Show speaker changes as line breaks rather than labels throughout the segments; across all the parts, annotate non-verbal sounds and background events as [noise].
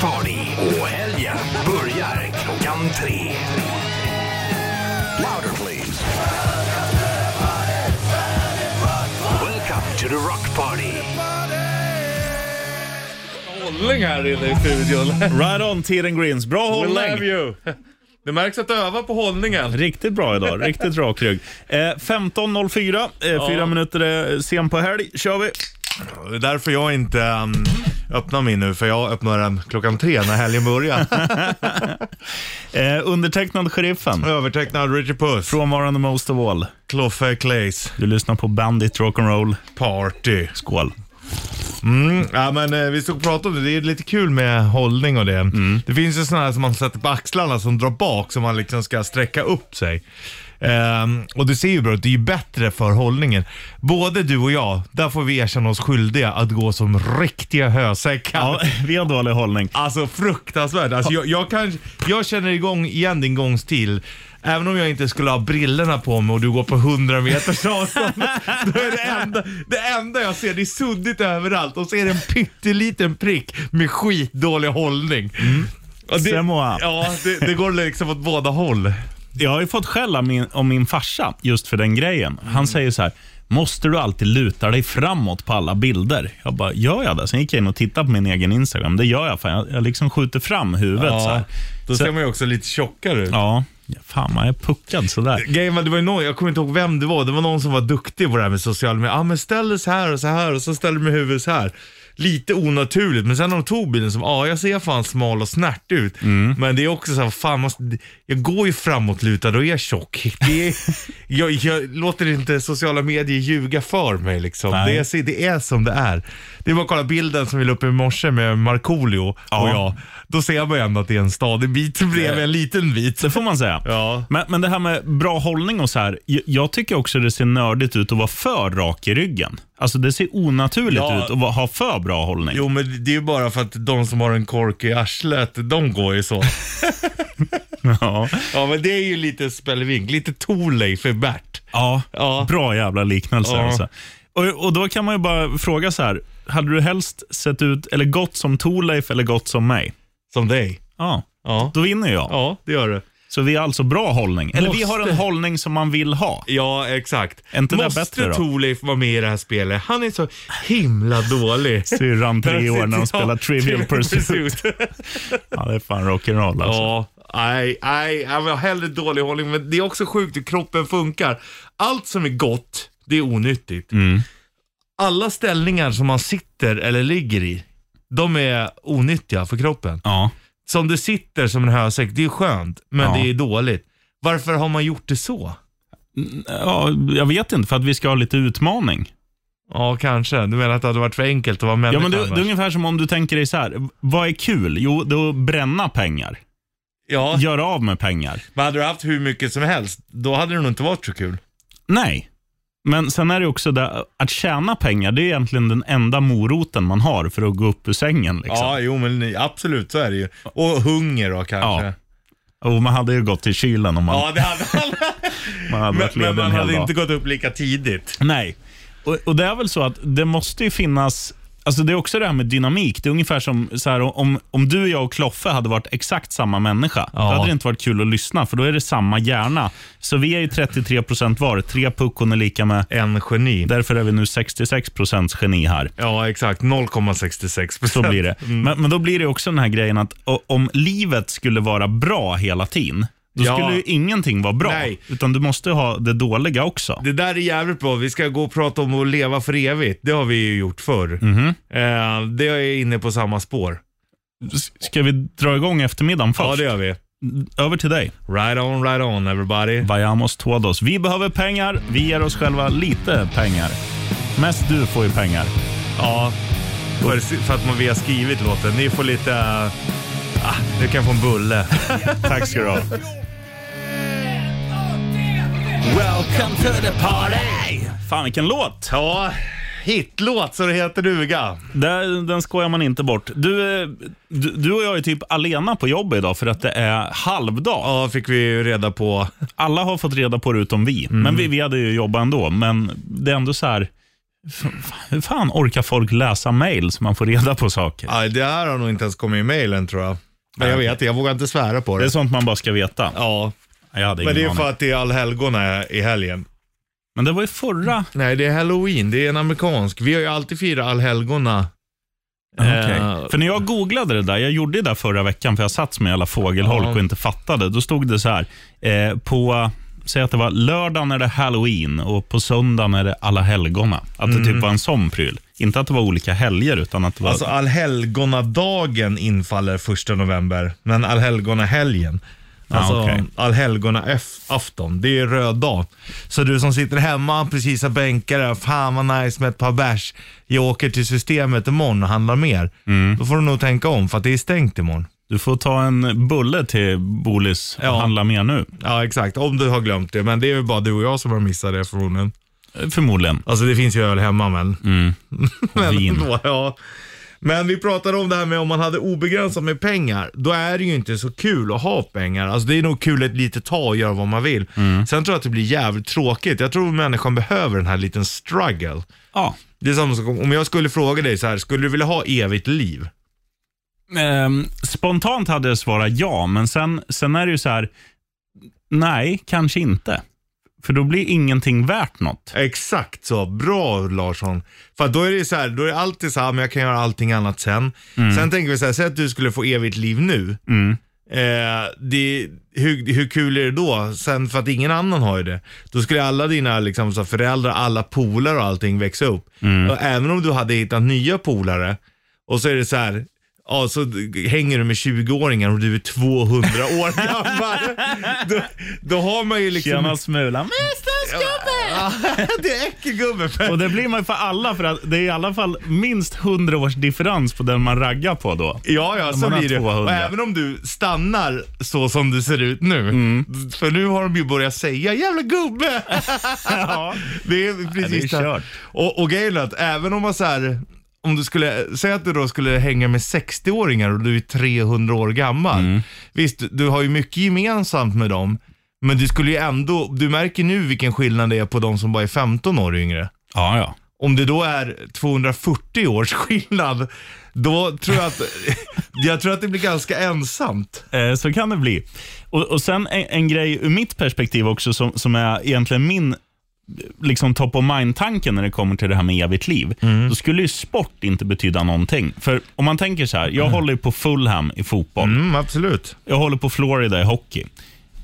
party och helgen börjar klockan tre. Louder please. Welcome to the rock party.
Hållning här inne i studion. [laughs]
Right on Tiren Greens, bra
We love
hållning!
you. [laughs] Det märks att du övar på hållningen.
Riktigt bra idag, riktigt rak rygg. Eh, 15.04, eh, fyra minuter eh, sen på helg, kör vi.
Det är därför jag inte um, öppnar min nu, för jag öppnar den klockan tre när
[laughs]
helgen börjar.
Eh, undertecknad Sheriffen,
Övertecknad Richard Puss,
frånvarande most of all.
Kloffe Clays,
Du lyssnar på Bandit Rock'n'Roll,
Party.
skål.
Mm, ja, men, eh, vi stod och pratade om det, det är lite kul med hållning och det.
Mm.
Det finns ju sådana här som man sätter på axlarna som drar bak, som man liksom ska sträcka upp sig. Ehm, och du ser ju bro, det är ju bättre för hållningen. Både du och jag, där får vi erkänna oss skyldiga att gå som riktiga hösäckar.
Ja, [laughs] vi har dålig hållning.
Alltså fruktansvärt. Alltså, jag, jag, kan, jag känner igång igen din gångstil. Även om jag inte skulle ha brillorna på mig och du går på 100 meters avstånd. [laughs] då är det enda, det enda jag ser, det är suddigt överallt och så är det en pytteliten prick med skitdålig hållning.
Mm.
Och det,
C'est moi.
ja, det, det går liksom åt båda håll.
Jag har ju fått skäll av min, om min farsa just för den grejen.
Mm.
Han säger så här, måste du alltid luta dig framåt på alla bilder? Jag bara, gör jag det? Sen gick jag in och tittade på min egen Instagram. Det gör jag, fan. Jag, jag liksom skjuter fram huvudet så här.
då
Så-
ser man ju också lite tjockare ut.
Ja, fan man är puckad sådär.
Grejen var, det var ju någon, jag kommer inte ihåg vem det var, det var någon som var duktig på det här med social media. Ja men ställ dig så här och så här och så ställer du med huvudet så här. Lite onaturligt, men sen när de tog bilden som, ja jag ser fan smal och snärt ut. Men det är också så här, fan måste, jag går ju framåtlutad och är tjock. Det är, [laughs] jag, jag låter inte sociala medier ljuga för mig liksom.
Nej.
Det är, så- det är som det är. Det är bara att kolla bilden som vi la upp i morse med Markoolio och jag. Då ser man ju ändå att det är en stadig bit bredvid en liten bit.
Det får man säga.
Ja.
Men, men det här med bra hållning och så här. j- Jag tycker också det ser nördigt ut att vara för rak i ryggen. Alltså det ser onaturligt
Ja.
ut att va- ha för bra hållning.
Jo, men det är ju bara för att de som har en kork i arslet, de går ju så.
[laughs] Ja.
Ja, men det är ju lite spelvink, lite Thorleif för Bert.
Ja,
Ja.
bra jävla liknelse.
Ja.
Alltså. Och, och då kan man ju bara fråga så här. Hade du helst sett ut, eller gått som Thorleif eller gått som mig?
Som dig.
Ja,
Ja.
då vinner jag.
Ja, det gör du.
Så vi har alltså bra hållning. Eller vi
Måste.
har en hållning som man
[laughs]
vill ha.
Ja, exakt.
Är inte det
Måste
bättre då?
Thorleif vara med i det här spelet? Han är så himla dålig.
Syrran tre år när de spelar
Ja, [laughs]
Trivial Pursuit. Ja, det är fan rock'n'roll alltså.
Ja, nej, nej, jag har hellre dålig hållning. Men det är också sjukt hur kroppen funkar. Allt som är gott, det är onyttigt.
Mm.
Alla ställningar som man sitter eller ligger i, de är onyttiga för kroppen.
Ja.
Som du sitter som en hösäck, det är skönt, men
Ja.
det är dåligt. Varför har man gjort det så?
Ja, jag vet inte, för att vi ska ha lite utmaning.
Ja, kanske. Du menar att det hade varit för enkelt att vara
Ja,
människa
men det, det är
annars?
ungefär som om du tänker dig så här, vad är kul? Jo, då bränna pengar.
Ja,
Göra av med pengar.
men hade du haft hur mycket som helst, då hade det nog inte varit så kul.
Nej. Men sen är det också det, att tjäna pengar, det är egentligen den enda moroten man har för att gå upp ur sängen. Liksom.
Ja, jo men absolut, så är det ju. Och hunger då kanske.
Ja. Och man hade ju gått till kylen om man,
Ja, det hade [laughs] alla.
man hade
Men,
varit
men
ledig en
man
hel
hade
dag.
inte gått upp lika tidigt.
Nej, och, och det är väl så att det måste ju finnas Alltså det är också det här med dynamik. Det är ungefär som så här, om, om du, jag och Kloffe hade varit exakt samma människa, då hade det inte varit kul att lyssna, för då är det samma hjärna. Så vi är ju 33 procent var. Tre puckon är lika med...
En geni.
Därför är vi nu 66 procents geni här.
Ja, exakt. 0,66
Så
[laughs]
blir det.
Mm.
Men, men då blir det också den här grejen att o- om livet skulle vara bra hela tiden, då
Ja.
skulle ju ingenting vara bra.
Nej.
Utan du måste ha det dåliga också.
Det där är jävligt bra. Vi ska gå och prata om att leva för evigt. Det har vi ju gjort förr. Eh, det är inne på samma spår.
S- Ska vi dra igång eftermiddagen först?
Ja, det gör vi.
Över till dig.
Right on, right on everybody.
Vayamos todos. Vi behöver pengar. Vi ger oss själva lite pengar. Mest du får ju pengar.
Ja, för, för att man, vi har skrivit låten. Ni får lite... eh, Ah, du kan få en [laughs] bulle.
Tack ska du ha.
Welcome to the party.
Fan, vilken låt!
Ja, hitlåt så det heter duga.
Där, den skojar man inte bort. Du, eh, du, du och jag är typ alena på jobbet idag för att det är halvdag.
Ja, fick vi ju reda på. Mm.
Alla har fått reda på det utom vi. Men vi, vi hade ju jobbat ändå. Men det är ändå så här, Hur fan orkar folk läsa mail så man får reda på saker?
Aj, det här har nog inte ens kommit i mejlen tror jag. Men jag vet jag vågar inte svära på
Det är
det.
sånt man bara ska veta.
Ja,
Jag hade
men
ingen
det är
aning.
för att det är allhelgona i helgen.
Men det var ju förra...
Nej, det är halloween. Det är en amerikansk. Vi har ju alltid firat allhelgona. Eh,
För när jag googlade det där, jag gjorde det där förra veckan för jag satt som en jävla fågelholk
Ja.
och inte fattade. Då stod det så här, eh, på, säg att det var lördagen är det halloween och på söndagen är det alla helgona. Att det typ var en sån pryl. Inte att det var olika helger utan att det var...
Mm. Alltså allhelgonadagen infaller första november, men allhelgonahelgen. Alltså
Ah, okej.
allhelgonaafton, det är röd dag. Så du som sitter hemma, precis har bänkar där, fan vad nice med ett par bärs. Jag åker till systemet imorgon och handlar mer. Då får du nog tänka om för att det är stängt imorgon.
Du får ta en bulle till Bolis och
Ja.
handla med nu.
Ja exakt, om du har glömt det. Men det är ju bara du och jag som har missat det förmodligen.
Eh, Förmodligen.
Alltså det finns ju öl hemma men. [laughs] men
vin.
ändå, ja. Men vi pratade om det här med om man hade obegränsat med pengar, då är det ju inte så kul att ha pengar. Alltså det är nog kul ett litet tag och göra vad man vill. Sen tror jag att det blir jävligt tråkigt. Jag tror människan behöver den här liten struggle.
Ja.
Det är samma sak om om jag skulle fråga dig så här, skulle du vilja ha evigt liv?
Ehm, spontant hade jag svarat ja, men sen, sen är det ju så här, nej, kanske inte. För då blir ingenting värt något.
Exakt så, bra Larsson. För att då är det så här, då är det alltid så här, "Ah, men jag kan göra allting annat sen. Sen tänker vi så här, säg att du skulle få evigt liv nu. Eh, det, hur, hur kul är det då? Sen för att ingen annan har ju det. Då skulle alla dina liksom, så här, föräldrar, alla polare och allting växa upp. Och även om du hade hittat nya polare och så är det så här, ja så d- hänger du med 20-åringar och du är 200 år gammal. då, då har man ju liksom...
Smulan.
Ja,
[laughs]
det är äckelgubbe.
Och det blir man ju för alla, för att det är i alla fall minst 100 års differens på den man raggar på då.
Ja, ja, så
man har
blir det.
200.
Och även om du stannar så som du ser ut nu.
Mm.
För nu har de ju börjat säga jävla gubbe. [laughs] Det är precis
Ja, det är
här.
kört.
Och, och grejen är att även om man så här, om du skulle, säg att du då skulle hänga med 60-åringar och du är 300 år gammal.
Mm.
Visst, du- du har ju mycket gemensamt med dem. Men du skulle ju ändå, du märker nu vilken skillnad det är på de som bara är 15 år yngre.
Ja, ja.
Om det då är 240 års skillnad, då tror jag
[laughs]
att, jag tror att det blir ganska ensamt.
Eh, Så kan det bli. Och, och sen en, en grej ur mitt perspektiv också som, som är egentligen min eh, liksom top of mind-tanken när det kommer till det här med evigt liv. Då skulle ju sport inte betyda någonting. För om man tänker så här, jag håller ju på Fulham i fotboll.
Mm, absolut.
Jag håller på Florida i hockey.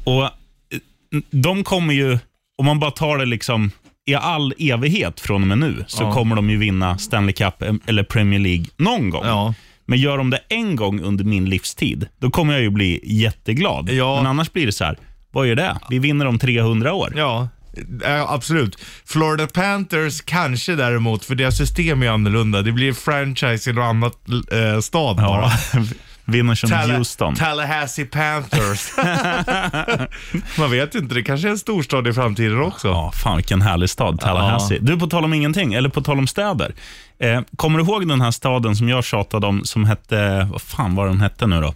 Och eh, de kommer ju, om man bara tar det liksom i all evighet från och med nu, så kommer de ju vinna Stanley Cup eh, eller Premier League någon gång.
Ja.
Men gör de det en gång under min livstid, då kommer jag ju bli jätteglad.
Ja.
Men annars blir det så här, vad är det? Vi vinner om 300 år.
Ja, eh, absolut. Florida Panthers kanske däremot, för deras system är annorlunda. Det blir franchise i någon annan eh, stad bara.
Ja. [laughs] Vinner som
Talla-
Houston.
Tallahassee
[laughs]
Panthers. Man vet inte, det kanske är en storstad i framtiden också.
Ja, fan vilken härlig stad, Tallahassee. Du, på tal om ingenting, eller på tal om städer. Eh, kommer du ihåg den här staden som jag tjatade om som hette, vad fan var den hette nu då?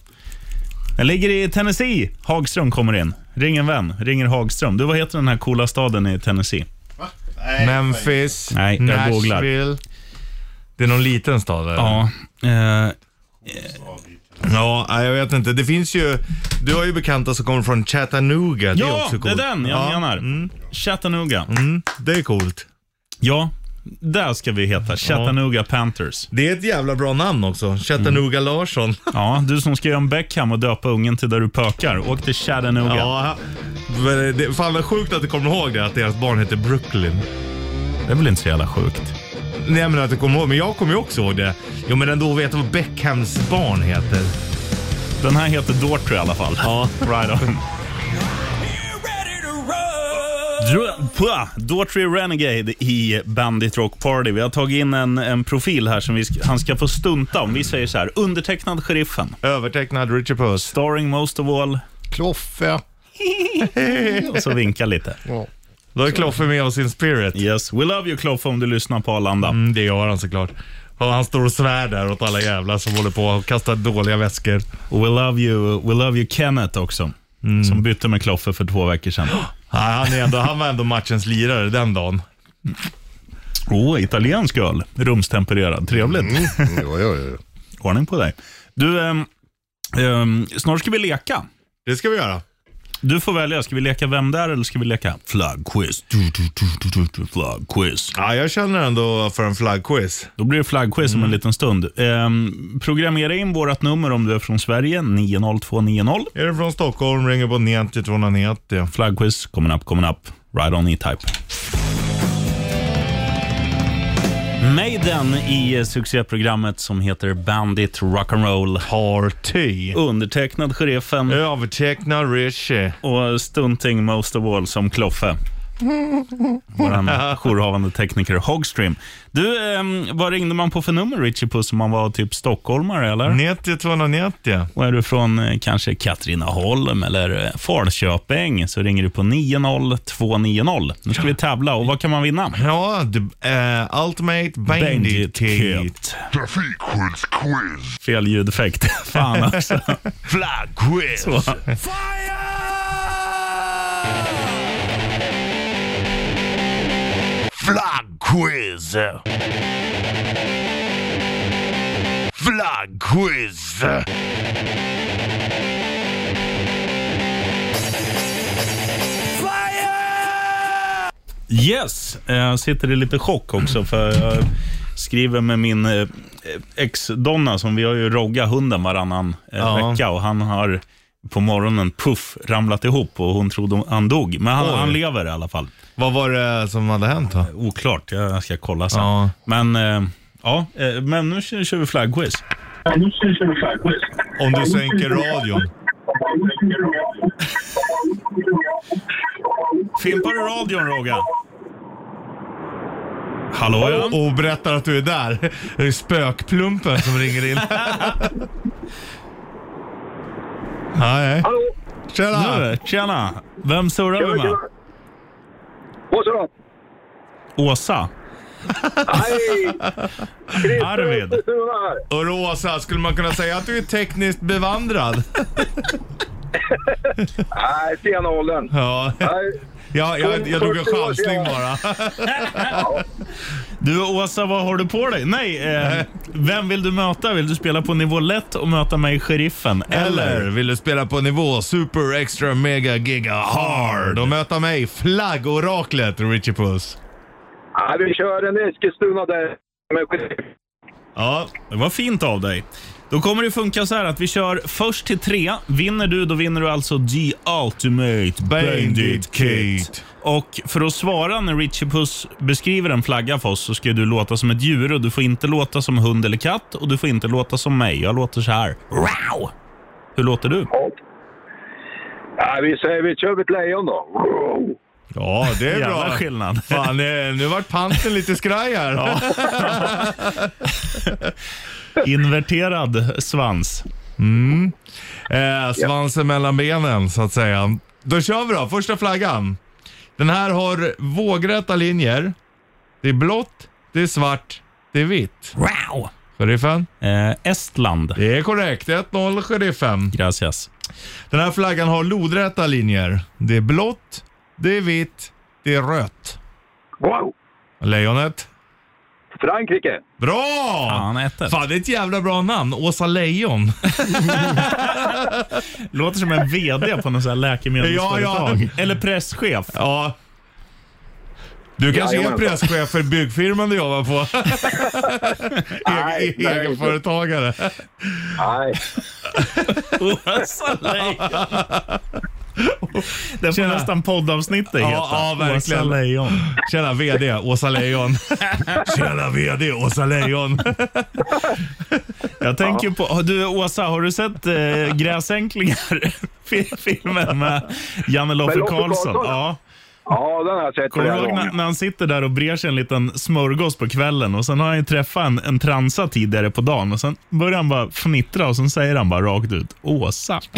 Den ligger i Tennessee. Hagström kommer in. Ring en vän, ringer Hagström. Du, vad heter den här coola staden i Tennessee?
Memphis,
Nej, jag googlar.
Nashville. Det är någon liten stad eller?
Ja, eh,
Ja, nej, jag vet inte. Det finns ju, du har ju bekanta som kommer från Chattanooga. det är
ja
också
det är
coolt.
den jag menar. Chattanooga.
Mm, det är coolt.
Ja, där ska vi heta. Chattanooga Panthers.
Det är ett jävla bra namn också. Chattanooga
Mm.
Larsson.
Ja, du som ska göra en Beckham och döpa ungen till där du pökar. Åk till Chattanooga.
Ja, [laughs] men det, fan vad sjukt att du kommer ihåg det, att deras barn heter Brooklyn.
Det är väl inte så jävla sjukt?
Nej men att du kommer ihåg, men jag kommer ju också ihåg det. Jo men ändå vet vad Beckhams barn heter.
Den här heter Daughtry i alla fall. Ja. Right on. Dr- pua, Daughtry Renegade i Bandit Rock Party. Vi har tagit in en, en profil här som vi sk- han ska få stunta om. Vi säger så här, undertecknad sheriffen,
Övertecknad Richard Puss.
starring most of all,
Kloffe.
[laughs] och så vinka lite.
Ja.
Då är Kloffe med oss in spirit.
Yes, we love you Kloffe om du lyssnar på Arlanda.
Mm, det gör han såklart. Och han står och svär där åt alla jävlar som håller på och kastar dåliga väskor.
Och we love you, we love you Kenneth också, som bytte med Kloffe för två veckor sedan.
Nej, han, är ändå, han var ändå matchens lirare den dagen.
Åh, italiensk öl. Rumstempererad. Trevligt.
Jo, jo, jo.
[laughs] Ordning på dig. Du, ehm, ehm, snart ska vi leka.
Det ska vi göra.
Du får välja. Ska vi leka Vem där eller ska vi leka Flaggquiz? Du, du, du, du, du, Flaggquiz.
Ja, jag känner ändå för en flaggquiz.
Då blir det flaggquiz om en liten stund. Ehm, programmera in vårt nummer om du är från Sverige, 90290.
Är du från Stockholm, ringer på 90 290.
Flaggquiz, coming up, coming up. Right on E-Type. Maiden i succéprogrammet som heter Bandit Rock'n'Roll.
Party.
Undertecknad sheriffen
Övertecknad Richie.
och stunting most of all som Kloffe. Vår jourhavande tekniker Hogstream. Du, ehm, vad ringde man på för nummer Richie Puss om man var typ stockholmare eller?
90 290.
Och är du från eh, kanske Katrineholm eller eh, Falköping så ringer du på 90290. Nu ska vi tävla och vad kan man vinna?
Ja, the, eh, Ultimate Bandit Kit.
Bandit-kit.
Trafikskyddsquiz.
Fel ljudeffekt. [laughs] Fan alltså.
Flaggquiz.
Så.
Flaggquiz. Flaggquiz.
Yes, Eh, jag sitter i lite chock också för jag skriver med min eh, ex-donna som vi har ju rogga hunden varannan eh,
Ja.
vecka och han har på morgonen puff ramlat ihop och hon trodde han dog. Men han,
Oj.
han lever i alla fall.
Vad var det som hade hänt då?
Oklart, jag ska kolla sen.
Ja.
Men, eh, ja, eh, men nu kör, kör vi flaggquiz.
Om du sänker radion.
Fimpar du radion, Roga? Hallå ja.
Och berättar att du är där. Det är spökplumpen som ringer [laughs] in. Nej. Tjena!
Nu, tjena. Vem surrar vi med?
Åsa då?
Åsa?
Hej!
Arvid?
Sune här.
Och Rosa, skulle man kunna säga att du är tekniskt bevandrad?
Nej, sena åldern.
Ja.
Nej,
Ja, jag, jag drog en chansning bara.
Du Åsa, vad har du på dig? Nej, eh, vem vill du möta? Vill du spela på nivå lätt och möta mig, sheriffen?
Eller
Eller?
vill du spela på nivå super extra mega giga hard och möta mig, flaggoraklet Richie Puss?
nej, vi kör en Eskilstuna där. Men
Ja, det var fint av dig. Då kommer det funka så här att vi kör först till tre. Vinner du, då vinner du alltså The Ultimate Bandit
Bandit
Kit.
Kit.
Och för att svara när Richie Puss beskriver en flagga för oss så ska du låta som ett djur och du får inte låta som hund eller katt och du får inte låta som mig. Jag låter så här. Wow! Hur låter du?
nej, vi säger vi kör ett lejon då.
Ja, det är
Jävla
bra.
skillnad.
Fan, eh, nu vart panten lite skraj här.
Inverterad svans.
Eh, svansen mellan benen, så att säga. Då kör vi då, första flaggan. Den här har vågräta linjer. Det är blått, det är svart, det är vitt.
Wow!
Sheriffen?
Eh, Estland.
Det är korrekt. 1-0 sheriffen.
Gracias.
Den här flaggan har lodräta linjer. Det är blått, det är vitt, det är rött.
Wow!
Lejonet?
Frankrike.
Bra!
Fan, ett, ett.
Fan, det är ett jävla bra namn. Åsa Lejon.
Låter som en VD på något sånt här läkemedelsföretag.
Ja,
Eller presschef.
Ja. Du kanske är
Jajamän.
presschef för byggfirman du jobbar på?
Nej,
E-
nej,
Egenföretagare.
nej.
Oh, Åsa Lejon. Det får
Tjena.
nästan poddavsnittet heta.
ja, verkligen.
Åsa Lejon.
Tjena VD Åsa
[laughs]
Lejon. Tjena VD Åsa Lejon.
Jag tänker på, du Åsa, har du sett eh, Gräsänklingar? [laughs] Fi- Filmen med Janne Loffe
Med Loffe
Karlsson.
Karlsson,
Ja.
Ja, den har jag sett
Kommer du
flera
ihåg när,
gånger.
när han sitter där och brer sig en liten smörgås på kvällen och sen har han ju träffat en, en transa tidigare på dagen och sen börjar han bara fnittra och sen säger han bara rakt ut Åsa. [laughs]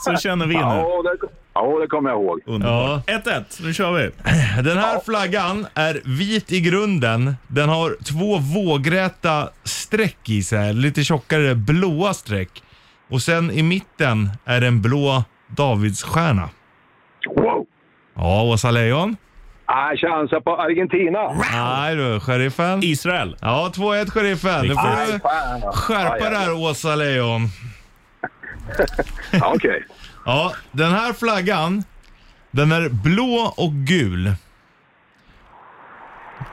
Så känner vi nu.
Ja, det, ja, det kommer jag ihåg.
Underbart. 1-1, nu kör vi.
Den här flaggan är vit i grunden. Den har två vågräta streck i sig. Lite tjockare blåa streck. Och sen i mitten är det en blå davidsstjärna.
Wow!
Ja, Åsa Lejon.
Nej, chansa på Argentina.
Nej du, sheriffen.
Israel.
Ja, 2-1 sheriffen. Nu får du
Nej, fan. Ja,
skärpa
ja.
dig här Åsa Leijon.
Ja, Okej.
Ja, den här flaggan, den är blå och gul.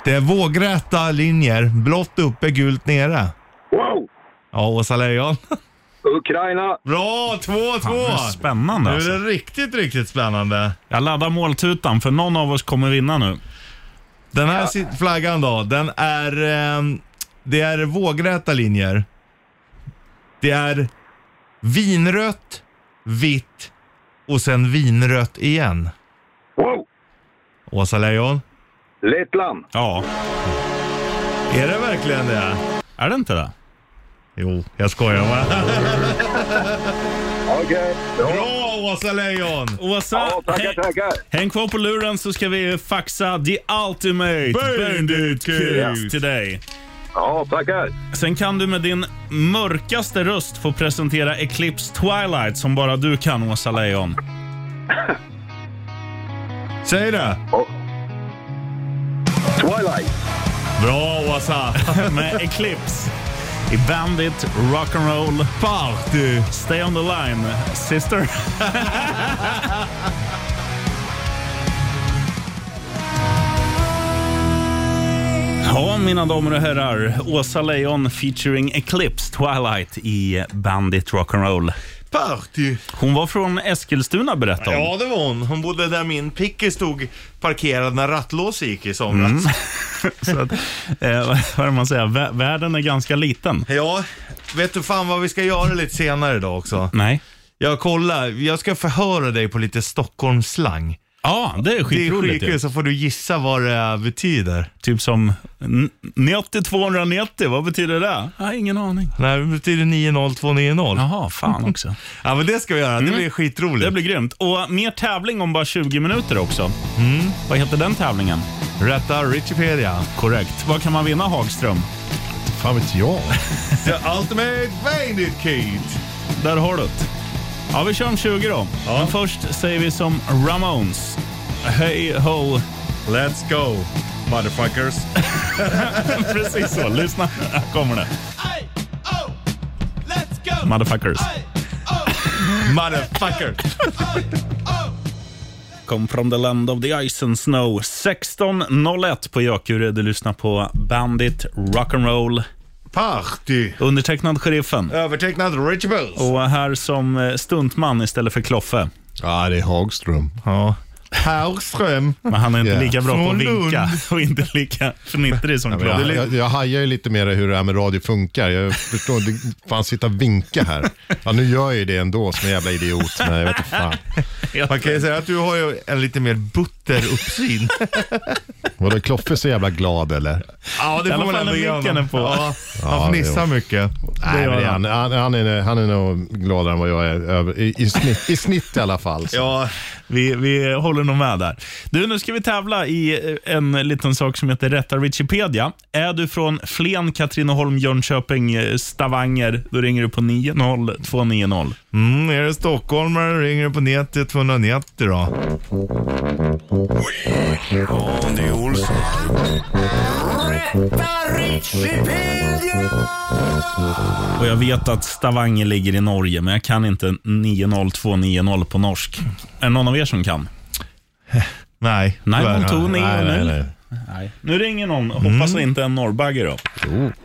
Det är vågräta linjer, blått uppe, gult nere.
Wow!
Ja, Åsa Leijon.
Ukraina.
[laughs] Bra, 2-2!
Fan, vad Spännande
Nu är
alltså.
det riktigt, riktigt spännande.
Jag laddar måltutan för någon av oss kommer vinna nu.
Den här si- flaggan då, den är... ehm, det är vågräta linjer. Det är vinrött, vitt och sen vinrött igen.
Wow!
Åsa Leijon,
Lettland.
Ja.
är det verkligen det?
Är det inte det?
Jo, jag skojar bara. Ah,
Okej.
Bra Åsa Leijon!
Åsa,
Ja, tackar,
hä-
tackar.
häng kvar på luren så ska vi faxa the ultimate
Bandit
Bandit-kit
Kit.
till dig.
Ja, tackar.
Sen kan du med din mörkaste röst få presentera Eclipse Twilight som bara du kan, Åsa Leijon.
Säg det!
Twilight.
Bra Åsa!
[laughs] Med Eclipse i Bandit Rock'n'Roll
Party!
Stay on the line,
[laughs]
sister. Ja, mina damer och herrar. Åsa Leijon featuring Eclipse Twilight i Bandit Rock'n'Roll.
Party!
Hon var från Eskilstuna berättade hon.
Ja, det var hon. Hon bodde där min picky stod parkerad när rattlåset gick i somras.
Så att, eh, [laughs] vad vad är det man säger? Vä- Världen är ganska liten.
Ja, vet du fan vad vi ska göra lite senare idag också?
Nej.
Jag kollar, jag ska förhöra dig på lite Stockholmsslang.
Ja, det är
Det är
skitroligt
skitkul,
ju.
så får du gissa vad det betyder.
Typ som n- 9290, vad betyder det? Jag har ingen aning.
Nej, det betyder 90290. Ja.
Jaha, [laughs] fan också.
ja, men det ska vi göra. Det blir skitroligt.
Det blir grymt. Och mer tävling om bara 20 minuter också. Vad heter den tävlingen?
Mm. Rätta Richipedia.
Korrekt. Vad kan man vinna, Hagström?
Fan
[laughs]
vet jag.
The Ultimate Bandit Kit.
Där har du det. Ja, vi kör om 20 då. Men först säger vi som Ramones. Hej ho.
Let's go, motherfuckers.
[laughs] Precis så. Lyssna. Här kommer det. Motherfuckers. [laughs]
Motherfucker.
Kom from the land of the ice and snow. 16.01 på Gökure. Du lyssnar på Bandit Rock'n'Roll.
Party.
Undertecknad Sheriffen.
Övertecknad Richie Bulls.
Och här som eh, stuntman istället för Kloffe.
Ja, det är Hagström.
Ja. Hagström.
Men han är inte
Ja.
lika bra på
Från
att vinka [laughs]
Lund.
och inte lika fnittrig som
Men Jag,
Kloffe.
jag, jag hajar ju lite mer hur det här med radio funkar. Jag förstår, det fan sitta och vinka här. Ja, nu gör jag ju det ändå som en jävla idiot, men jag vet inte fan.
Man kan ju säga att du har ju en lite mer butter uppsyn.
Vadå, är Kloffe så jävla glad eller?
Ja, det
I alla
får man
fall
ändå
när
ge
micken
honom.
är på.
Ja,
Ja,
han fnissar mycket.
Nej, men det är
han.
han, han, han, är, han är nog gladare än vad jag är, över, i, i, snitt, i snitt i alla fall. Så.
Ja,
Vi, vi håller nog med där. Du, nu ska vi tävla i eh, en liten sak som heter Rätta Wikipedia. Är du från Flen, Katrineholm, Jönköping, eh, Stavanger, då ringer du på 90290.
mm, är det stockholmare ringer du på 90 290 då.
Och Jag vet att Stavanger ligger i Norge, men jag kan inte 90290 på norsk. Är det någon av er som kan?
Nej,
Nej,
tyvärr.
hon tog
nej, nej,
9
nej.
nu. Nej. Mm. Nu ringer någon. Hoppas det inte är en norrbagge då.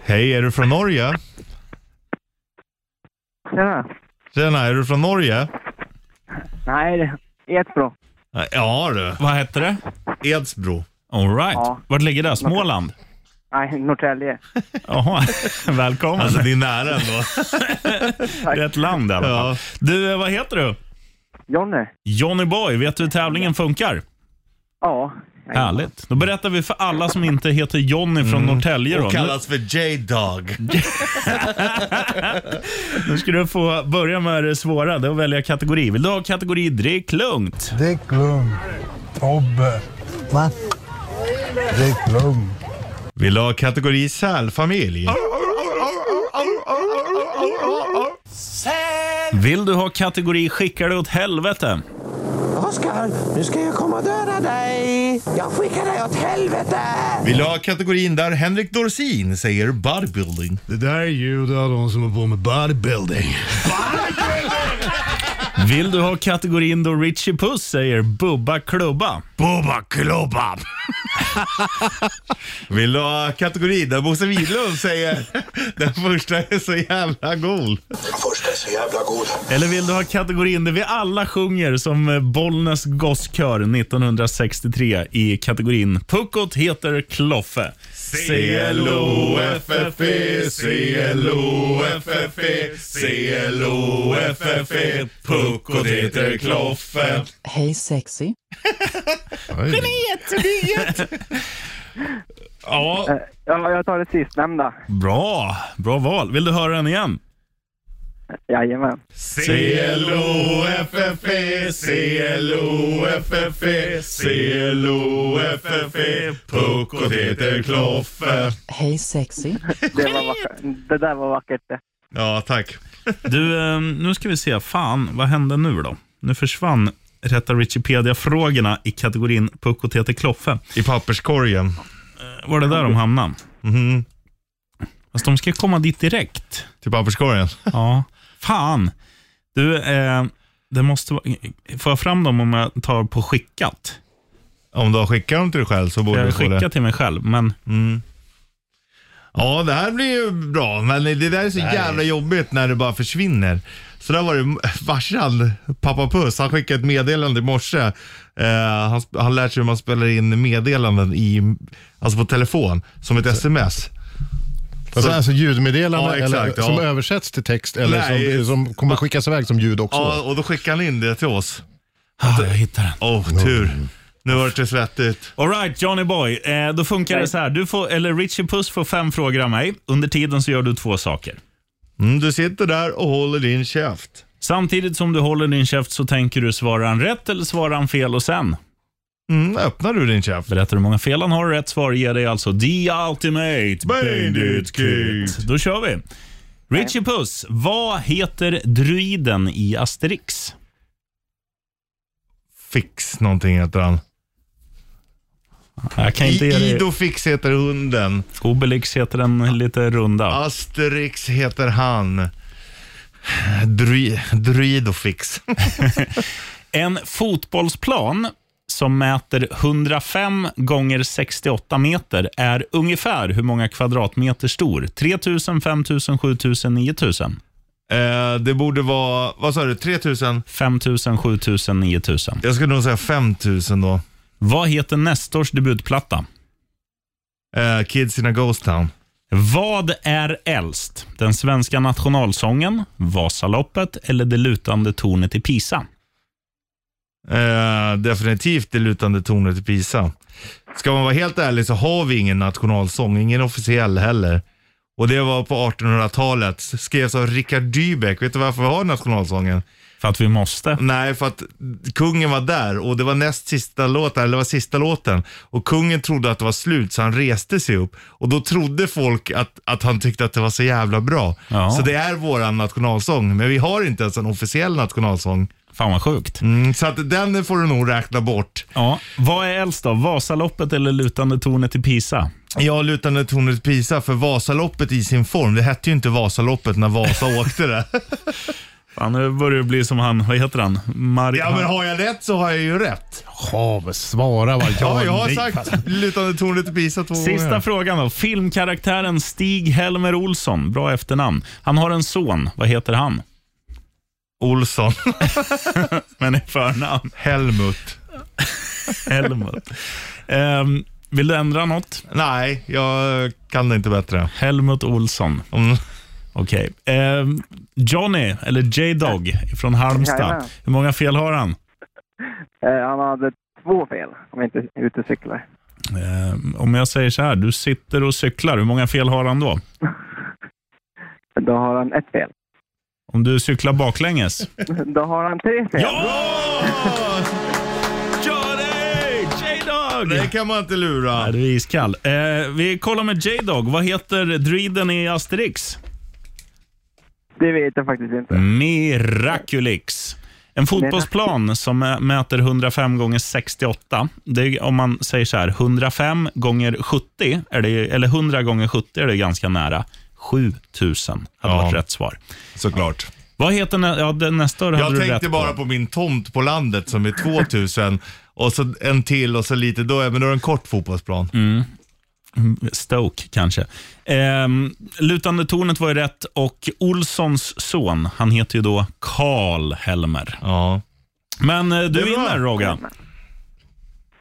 Hej, är du från Norge?
Tjena.
Tjena, är du från Norge?
Nej, det är jättebra.
Ja du.
Vad heter det?
Edsbro.
All right.
Ja.
Vart ligger det? Småland?
Nej, Norrtälje.
Jaha, [laughs] välkommen.
Alltså det är nära [laughs] ändå.
det är ett land i alla fall.
Ja.
Du, eh, vad heter du?
Jonny?
Johnny Boy, vet du hur tävlingen funkar?
Ja.
Härligt. Då berättar vi för alla som inte heter Johnny från Norrtälje. Då.
Och
Nu,
kallas för J-Dog.
nu ska du få börja med det svåra, det är att välja kategori. Vill du ha kategori drick lugnt?
Drick lugn. Tobbe. Va? Drick lugn.
Vill du ha kategori sälfamilj?
Vill du ha kategori skickar du åt helvete?
Oskar, nu ska jag komma och döda dig. Jag skickar dig åt helvete.
Vill du ha kategorin där Henrik Dorsin säger bodybuilding?
Det där är ljud av de som är på med bodybuilding.
Vill du ha kategorin då Richie Puss säger Bubba Klubba?
Bubba
[laughs]
klubba!
Vill du ha kategorin där Bosse Widlund
[laughs]
säger den första är så jävla god?
Först är så jävla god.
Eller vill du ha kategorin där vi alla sjunger som eh, Bollnäs Gosskör 1963 i kategorin Puckot heter Kloffe? E,
C-L-O-F-F-E, C-L-O-F-F-E, C-L-O-F-F-E, Puckot heter Kloffe.
Hej sexy.
Ja,
Eh, Ja, jag tar det sistnämnda.
bra. Bra val. Vill du höra den igen?
Jajamän.
C-L-O-F-F-E, C-L-O-F-F-E, C-L-O-F-F-E, Puckot heter Kloffe.
Hej sexy.
Det, var vackert. det där var vackert Eh, det.
Ja, tack.
Du, eh, nu ska vi se. Fan, vad hände nu då? Nu försvann Rätta Wikipedia-frågorna i kategorin Puckot heter Kloffe.
I papperskorgen.
Var det där de hamnade?
Mhm.
Fast de ska komma dit [laughs] direkt.
Till papperskorgen.
Ja. Fan. Du, eh, det måste vara... Får jag fram dem om jag tar på skickat?
Om du har skickat dem till dig själv så borde du
Jag
få det.
skickar till mig själv, men...
Ja, det här blir ju bra, men det där är så jävla jobbigt när det bara försvinner. Så där var det [laughs] farsan, pappa Puss, han skickade ett meddelande i morse. Eh, han, sp- han lärt sig hur man spelar in meddelanden i, alltså på telefon, som ett sms.
Alltså,
Så-
alltså ljudmeddelande
Ja, exakt,
eller, som
ja.
översätts till text eller
Nej.
som, som kommer skickas iväg som ljud också.
Ja, och då skickade han in det till oss.
Ah, jag hittar den.
Åh, oh, tur. Nu var det inte svettigt.
Alright, Johnny Boy. Eh, då funkar det så här. Du får, eller Richie Puss får fem frågor av mig. Under tiden så gör du två saker.
Mm, du sitter där och håller din käft.
Samtidigt som du håller din käft så tänker du, svarar han rätt eller svarar han fel? Och sen
Mm, öppnar du din käft?
berättar du hur många fel han har och rätt svar ger dig alltså The Ultimate
Bandit Kid.
Då kör vi. Richie Puss, vad heter druiden i Asterix?
Fix någonting heter han.
Jag kan inte ge
I,
dig...
Ido Fix heter hunden.
Obelix heter den lite runda.
Asterix heter han. Dry, Druidofix.
En fotbollsplan som mäter 105 gånger 68 meter är ungefär hur många kvadratmeter stor? 3000, 5000, 7000, 9000?
eh, det borde vara, vad sa du, 3000?
5000, 7000, 9000.
Jag skulle nog säga 5000 då.
Vad heter Nestors debutplatta?
Eh, Kids in a Ghost Town.
Vad är äldst? Den svenska nationalsången, Vasaloppet eller det lutande tornet i Pisa?
Eh, definitivt det lutande tornet i Pisa. Ska man vara helt ärlig så har vi ingen nationalsång, ingen officiell heller. Och det var på 1800-talet. Skrevs av Richard Dybeck. Vet du varför vi har nationalsången?
För att vi måste.
Nej, för att kungen var där och det var näst sista låten, eller det var sista låten. Och kungen trodde att det var slut så han reste sig upp. Och då trodde folk att, att han tyckte att det var så jävla bra.
Ja.
Så det är våran nationalsång, men vi har inte ens en officiell nationalsång.
Fan vad sjukt.
Mm, så att den får du nog räkna bort.
Ja, vad är äldst då? Vasaloppet eller lutande tornet i Pisa?
Jag lutande tornet Pisa för Vasaloppet i sin form, det hette ju inte Vasaloppet när Vasa åkte det.
Fan, nu börjar det bli som han, vad heter han? Mar-
Ja men har jag rätt så har jag ju rätt.
Havet, svara vad
Ja, jag har
nej,
sagt
fast-
lutande tornet i Pisa två gånger.
Sista frågan då. Filmkaraktären Stig-Helmer Olsson, bra efternamn. Han har en son, vad heter han?
Olsson.
Men i förnamn,
Helmut.
Helmut. Ehm, vill du ändra något?
Nej, jag kan det inte bättre.
Helmut Olsson.
Mm.
[laughs] Okej. Ehm, Johnny, eller J-Dog, från Halmstad.
Jajamän.
Hur många fel har han?
Eh, han hade två fel, om jag inte är ute och cyklar.
Ehm, om jag säger så här, du sitter och cyklar. Hur många fel har han då?
Då har han ett fel.
Om du cyklar baklänges?
Då har han tre fel.
Ja!
Johnny! J-Dog!
Det kan man inte
Ja,
lura.
du är iskall. Eh, vi kollar med J-Dog. Vad heter druiden i Asterix?
Det vet jag faktiskt inte.
Miraculix. En fotbollsplan som ä- mäter 105 gånger 68, det är, om man säger så här, 105 gånger 70, är det, eller 100 gånger 70 är det ganska nära. 7000 hade
Ja.
varit rätt svar.
Såklart.
Vad heter nä- ja, den, nästa år? hade
Jag
du
tänkte
rätt
bara på min tomt på landet som är 2000 och så en till och så lite, då, är- men då är det en kort fotbollsplan.
Mm. Stoke kanske. Ehm, lutande tornet var ju rätt och Olssons son, han heter ju då Karl Helmer.
Ja.
Men eh,
Det
du
är bra.
vinner Rogan.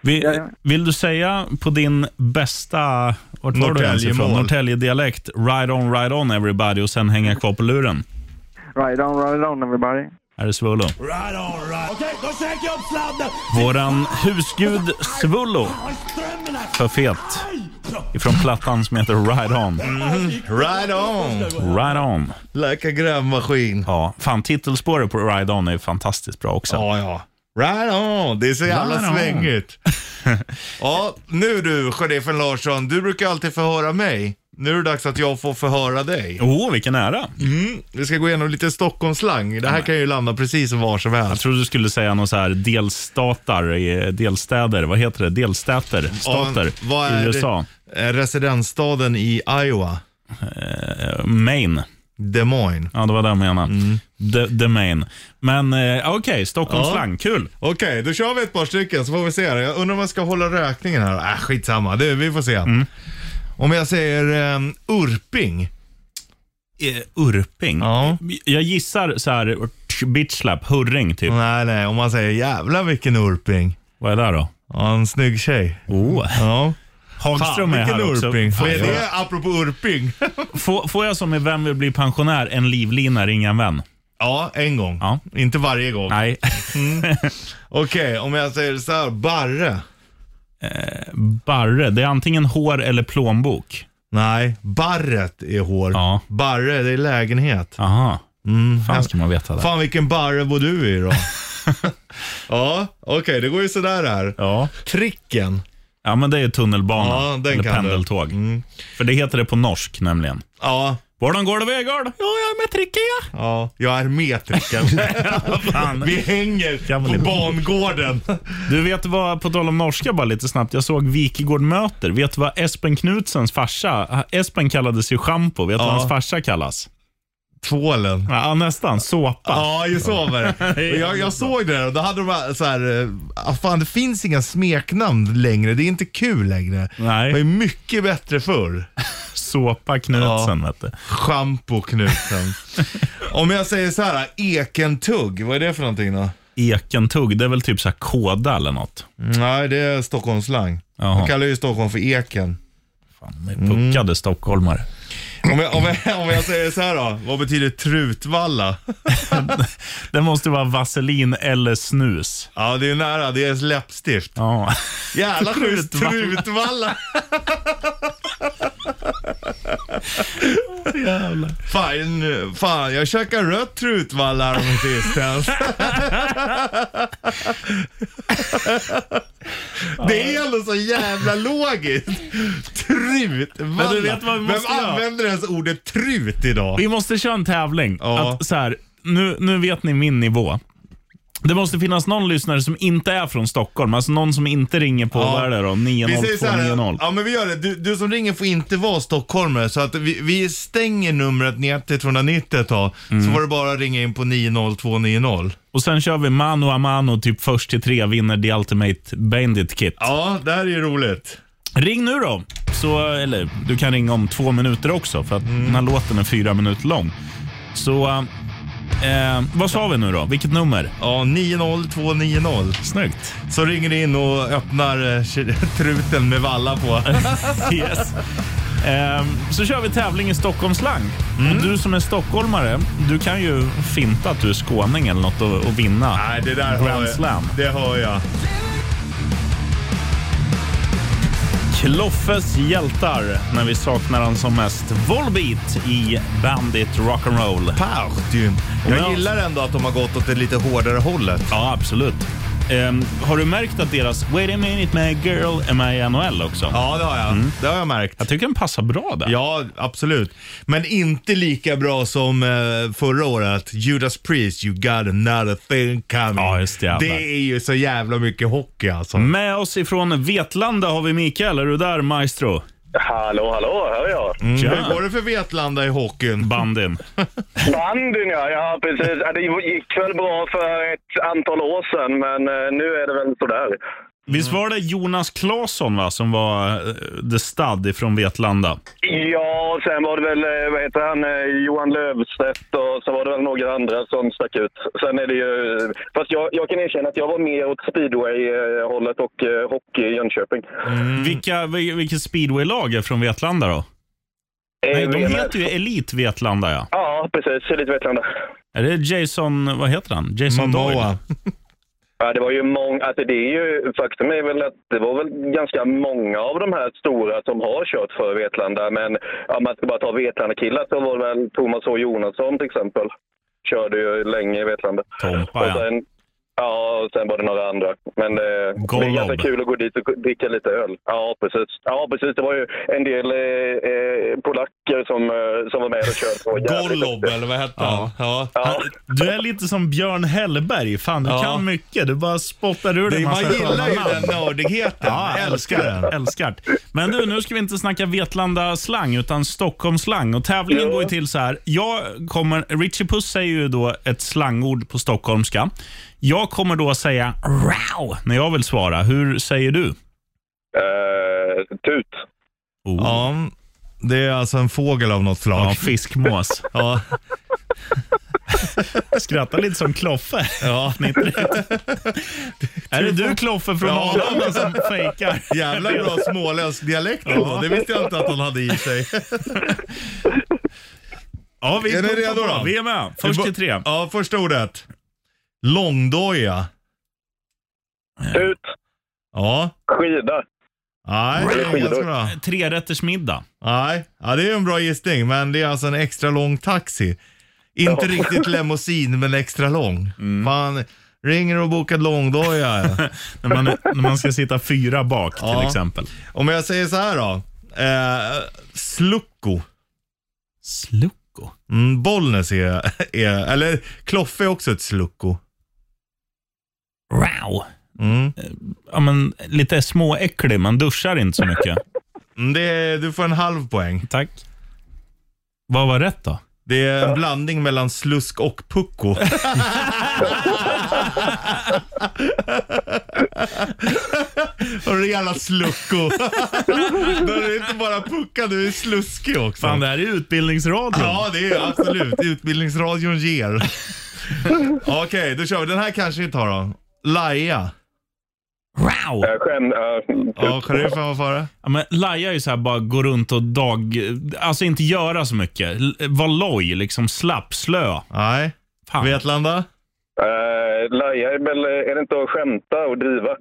Vi, vill du säga på din bästa vart var du ens ifrån?
Norrtäljemål.
Norrtälje-dialekt, ride on, ride on everybody och sen hänga kvar på luren.
Ride on, ride on everybody.
Här är Svullo.
Okej, då käkar jag upp sladden!
Våran husgud Svullo, för fet, ifrån plattan som heter Ride on.
Right on!
Ride on.
Like a grävmaskin.
Ja, fan titelspåret på Ride On är ju fantastiskt bra också.
Ja, ja. Right on! Det är så jävla
Right on. [laughs]
svängigt. ja, nu du, sheriffen Larsson. Du brukar alltid förhöra mig. Nu är det dags att jag får förhöra dig.
Åh, vilken ära.
Mm, vi ska gå igenom lite Stockholmsslang. Det här kan ju landa precis som var som
Jag
helst.
trodde du skulle säga någon så här delstatar, i- delstäder, vad heter det? Delstäter, stater
Ja, vad är
i USA.
Det? Eh, Residensstaden i Iowa.
Eh, Maine.
Des Moines.
Ja, det var det jag menade.
Mm.
The, the Maine. Men eh, okej, Stockholmsslang. Kul.
Okej, då kör vi ett par stycken så får vi se. Jag undrar om jag ska hålla räkningen här. Äh, skitsamma, det, vi får se.
Mm.
Om jag säger eh, Urping. Eh,
Urping.
Ja.
Jag gissar så här, tch, bitch slap, hurring typ.
Nej, nej, om man säger jävla vilken Urping.
Vad är det då?
Ja, en snygg tjej.
Oh.
Ja.
Hagström är här också.
Urping.
Fan,
Vad är
jag-
det apropå Urping?
Får, får jag som i Vem vill bli pensionär en livlina ringa en vän?
ja, en gång.
Ja.
Inte varje gång.
Nej.
Okej, om jag säger så här, Barre.
Barre, det är antingen hår eller plånbok.
Nej, Barret är hår.
Ja.
Barre, det är lägenhet.
Aha. Fan ska man veta det.
Mm. Fan vilken barre bor du [laughs] i då? ja, okej det går ju sådär här.
Ja.
Tricken.
ja, men det är tunnelbana.
Ja, den kan
eller
du. Mm.
pendeltåg. För det heter det på norsk nämligen.
Ja,
Vården går det vägar? Ja, jag är med tricket
ja. jag är med [laughs] tricken.
Fan.
Vi hänger
Kan man
på
inte.
bangården.
Du vet vad, på tal om norska bara lite snabbt, jag såg Wikegård möter. Vet du vad Espen Knutsens farsa, äh, Espen kallades ju Schampo, vet du vad
Ja.
hans farsa kallas?
Tvålen.
Ja, nästan, såpa.
[laughs] Ja, ju så var det. Och Jag, jag såg det och då hade de bara så här, eh, ah, fan det finns inga smeknamn längre, det är inte kul längre. Det
Nej,
var ju mycket bättre förr.
såpa Knutsen vet du.
Schampo [laughs] knuten. Om jag säger så här, eh, ekentugg, vad är det för någonting då?
Ekentugg, det är väl typ så här kåda eller något.
Nej, det är Stockholmsslang.
Jaha.
De kallar ju Stockholm för eken.
Fan, de är
Mm. [laughs]
puckade stockholmare.
Om jag, om, jag, om jag säger så här då, vad betyder Trutvalla?
Det måste vara vaselin eller snus.
Ja, det är nära. Det är ens läppstift.
Ja.
Jävla schysst.
Trutvalla.
Trutvalla.
Jävlar.
Fan, fan, jag käkade rött Trutvalla häromsistens. Det är ändå så jävla logiskt. Trutvalla.
Men du vet vad vi måste
Vem
göra?
använder ens ordet trut idag?
Vi måste köra en tävling.
Ja.
Att så här, nu, nu vet ni min nivå. Det måste finnas någon lyssnare som inte är från Stockholm, alltså någon som inte ringer på
Ja.
vad är det då,
Vi säger så här,
90290.
ja men vi gör det. Du, du som ringer får inte vara stockholmare så att vi, vi stänger numret ner till 290 ett tag. Så får du bara ringa in på 90290.
Och sen kör vi mano a mano, typ först till tre vinner The Ultimate Bandit Kit.
Ja, det här är ju roligt.
Ring nu då! Så, eller du kan ringa om två minuter också, för att
Mm.
den här låten är fyra minuter lång. Så, eh, vad sa vi nu då? Vilket nummer?
Ja, 90290.
Snyggt.
Så ringer du in och öppnar eh, [laughs] truten med valla på.
[laughs] Yes. Ehm, Så kör vi tävling i Stockholmsslang.
Mm.
Och du som är stockholmare, du kan ju finta att du är skåning eller något och, och vinna.
Nej, det där hör
Grand
jag.
Slam.
Det hör jag.
Kloffes hjältar när vi saknar han som mest. Volbeat i Bandit Rock'n'Roll.
Party.
Ja.
Jag gillar ändå att de har gått åt det lite hårdare hållet.
Ja, absolut. Ehm, har du märkt att deras Wait a minute med Girl är med i NHL också?
Ja, det har jag. Det har jag märkt.
Jag tycker den passar bra där.
Ja, absolut. Men inte lika bra som eh, förra året. Judas Priest, You got another thing coming.
Ja, just det, jävlar. Mm,
det är ju så jävla mycket hockey alltså.
Med oss ifrån Vetlanda har vi Mikael. Är du där maestro?
Hallå, hallå, hör jag?
Mm.
Tja.
Hur går det för Vetlanda i hockeyn?
Bandin.
Bandyn ja, ja precis. Ja, Det gick väl bra för ett antal år sedan, men eh, nu är det väl sådär.
Visst var det Jonas Claesson va, som var eh, the stud ifrån Vetlanda?
Ja, och sen var det väl, eh, vad heter han, eh, Johan Löfstedt och så var det väl några andra som stack ut. Sen är det ju, fast jag, jag kan erkänna att jag var mer åt speedway-hållet och eh, hockey i Jönköping.
Vilka, vil- vilket speedwaylag är från Vetlanda då?
Eh,
Nej, de
VM.
heter ju Elit Vetlanda ja.
Ja, precis. Lite Vetlanda.
Är det Jason, vad heter han? Jason Doyle?
Ja, det var ju många, alltså det är ju, faktum är väl att det var väl ganska många av de här stora som har kört för Vetlanda, men om man ska bara ta Vetlanda-killar så var det väl Thomas H Jonasson till exempel. Körde ju länge i Vetlanda.
Tompa
och
ja.
sen, ja, och sen var det några andra. Men eh, det, det
Gollob.
är ganska kul att gå dit och dricka lite öl. Ja, precis. Ja, precis. Det var ju en del eh, eh, polacker som, eh, som var med och körde. Det var jävligt
Gollob
häftigt.
eller vad hette han? Ja.
Ja.
Du är lite som Björn Hellberg. Fan, du
Ja.
kan mycket. Du bara spottar ur dig en
Man
massa
gillar
sköna
ju
namn.
den nördigheten.
Ja,
Jag älskar den.
Älskar Men du, nu ska vi inte snacka Vetlanda-slang utan Stockholmsslang. Och tävlingen går ju till så här. Jag kommer, Richie Puss säger ju då ett slangord på stockholmska. Jag kommer då säga rau när jag vill svara. Hur säger du?
Eh, tut.
Oh.
Ja, det är alltså en fågel av något slag.
Ja, fiskmås.
Ja.
Skrattar lite som Kloffe. [laughs]
Ja.
Är det du Kloffe från
Ja.
Arlanda som fejkar?
Jävla bra småländsk dialekt ändå. Det visste jag inte att han hade i sig.
Ja, vi
Är ni
pumpar
redo
på.
då?
Vi är med. Först till tre.
Ja, första ordet. Långdoja.
Tut.
Ja.
Skida.
Nej, det är ganska bra.
Tre rätters middag.
Nej, ja, det är en bra gissning, men det är alltså en extra lång taxi. Inte
Ja.
riktigt limousin, men extra lång. Fan, ringer och bokar långdoja.
När man, när man ska sitta fyra bak till
Ja.
exempel.
Om jag säger så här då. Eh, slucko.
Slucko.
Mm, Bollnäs är, är, eller Kloffe är också ett slucko.
Rau.
Mm.
Ja, men lite småäcklig. Man duschar inte så mycket.
Mm, Det är, du får en halv poäng.
Tack. Vad var rätt då?
Det är en blandning mellan slusk och
[laughs]
pucko. Har du jävla slucko? Då är du inte bara pucka, du är sluskig också.
Fan, det här är utbildningsradion.
Ja, det är absolut. Utbildningsradion ger. Okej, då kör vi. Den här kanske vi tar då. Laia.
Rau.
Eh, Skäm... eh,
Ja, sheriffen var före.
Ja, men Laja är ju så här bara gå runt och dag... Alltså inte göra så mycket. L- Var loj, liksom slapp, slö.
Nej.
Fan.
Vetlanda?
eh, Laja är väl... Är det inte att skämta och driva?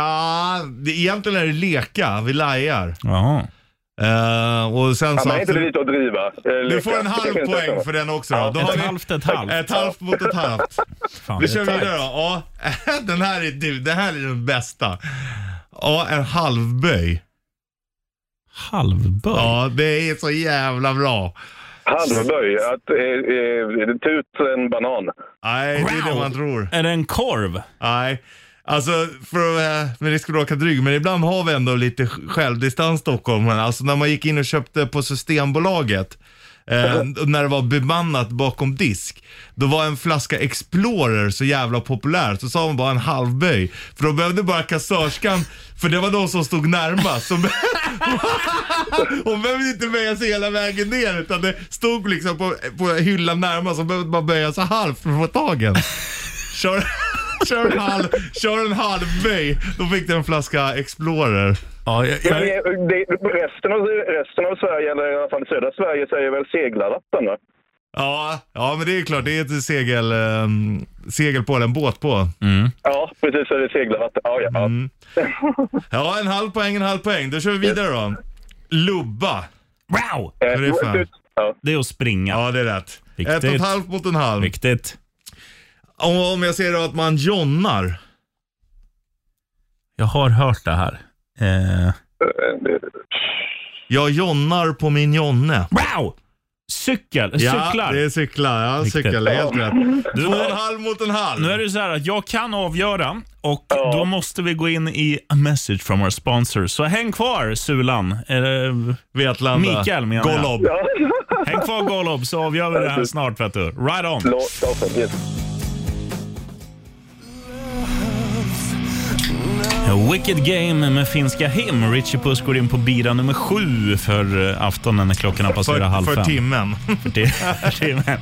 Ja, det, egentligen är det leka. Vi lajar.
Jaha.
Eh, och sen
Ja,
så...
men är inte det lite att driva? Eh,
Du
leka.
får en halv
Det kan inte
poäng
stämma.
för den också. Då. Då har
Ett
vi
halvt, ett halvt.
Ett halvt mot ett halvt.
Fan,
Vi
det är
kör
tajt.
vidare då. Ja, [laughs] den här är, du, det här är den bästa. Ja, en halvböj.
Halvböj.
Ja, det är så jävla bra.
Halvböj. Att, eh, eh, tut en banan.
Nej, det är det
Wow.
man tror.
Är det en korv?
Nej. Alltså, för att, eh, med risk för att råka dryg, men ibland har vi ändå lite sj- självdistans stockholmare. Alltså när man gick in och köpte på Systembolaget, eh, när det var bemannat bakom disk, då var en flaska Explorer så jävla populär, så sa man bara en halvböj. För då behövde bara kassörskan, för det var de som stod närmast. Så [laughs] hon behövde inte böja sig hela vägen ner, utan det stod liksom på, på hyllan närmast, hon behövde bara böja sig halvt för att få tag i en. Kör, [laughs] kör, en halv, kör en halv böj. Då fick du en flaska Explorer.
Ja, jag,
Men det, det, resten, av, resten av Sverige, eller i alla fall södra Sverige, säger väl seglarlappen? Va?
Ja, ja men det är klart. Det är ett segel, ehm, segel på, eller en båt på.
Ja, precis. så är Det seglarlappen. Ja, ja.
Mm. Ja, en halv poäng, en halv poäng. Då kör vi vidare då. Lubba.
Wow!
Eh,
det är fan.
tut. Ja.
Det är att springa.
Ja, det är rätt.
Viktigt.
Ett och ett halvt mot en halv.
Viktigt.
Om, om jag säger då att man jonnar.
Jag har hört det här. Eh.
Jag jonnar på min jonne.
Wow! Cykel,
Ja,
cyklar.
det är cyklar. Ja,
Riktigt.
cykel. Det är helt rätt.
Du,
Två och
nu-
en halv mot en halv.
Nu är det så här att jag kan avgöra och då måste vi gå in i a message from our sponsor. Så häng kvar Sulan. Eller
Vetlanda.
Mikael menar jag.
Golob.
Häng kvar Golob så avgör vi det här snart vet du. Right on. Wicked Game med finska Him. Richie Puss går in på bira nummer sju för eh, aftonen när klockan har passerat
För-
halv
för
fem.
timmen.
För ti- [laughs] för timmen.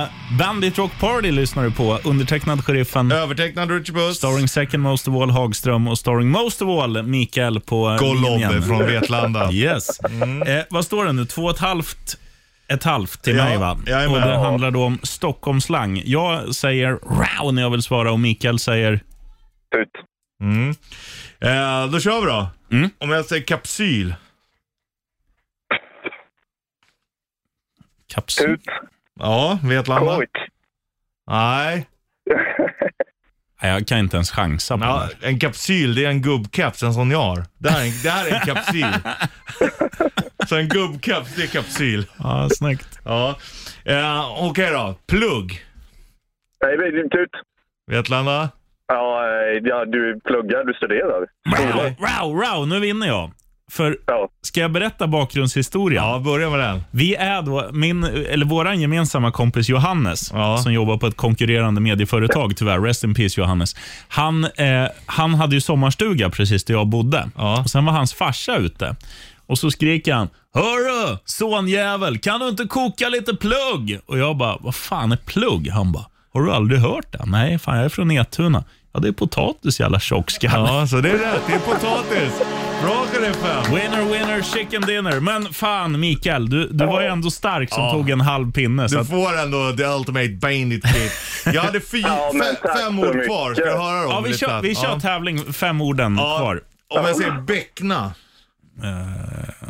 Eh, Bandit Rock Party lyssnar du på. Undertecknad Sheriffen.
Övertecknad Richie Puss.
Starring second most of all Hagström och starring most of all Mikael på eh,
Golob
linjen.
från
[laughs]
Vetlanda.
Yes. Eh, vad står det nu? Två och ett halvt, ett halvt till
Ja,
mig va?
jajamän.
Och det
Ja.
handlar då om Stockholmsslang. Jag säger rau när jag vill svara och Mikael säger
Mm. Eh, då kör vi då. Om jag säger kapsyl.
kapsyl.
Ja, Vetlanda.
Oj.
Nej.
Nej, jag kan inte ens chansa på det
Ja,
här.
en kapsyl, det är en gubbkeps, en sån jag har. Det här är en, det här är en kapsyl. Så en gubbkeps, det är kapsyl.
Ja, snyggt.
Ja. Eh, Okej då, plugg.
Nej, det är tut.
Vetlanda.
Ja, eh, ja, du pluggar, du studerar.
Rau, rau, rau, nu vinner jag. För ska jag berätta bakgrundshistorien?
Ja, börja med den.
Vi är då, min, eller våran gemensamma kompis Johannes, som jobbar på ett konkurrerande medieföretag tyvärr, rest in peace Johannes. Han, eh, han hade ju sommarstuga precis där jag bodde. Och Sen var hans farsa ute och så skrek han Hörru, sonjävel, kan du inte koka lite plugg? Och jag bara, vad fan är plugg? Han bara, har du aldrig hört det? Nej, fan jag är från Netuna. Ja, det är potatis jävla tjockskalle.
Ja, så det är rätt. Det är potatis. Bra sheriffen.
Winner, winner, chicken dinner. Men fan Mikael, du, du var ju ändå stark som
Ja.
tog en halv pinne. Så
Du
att,
får ändå the ultimate bandit kit. Jag hade fy, fe, fem ord kvar. Ska du höra dem?
ja, vi
lite
kör,
snabbt?
vi kör
Ja.
tävling, fem orden
Ja.
kvar.
Om jag säger bäckna.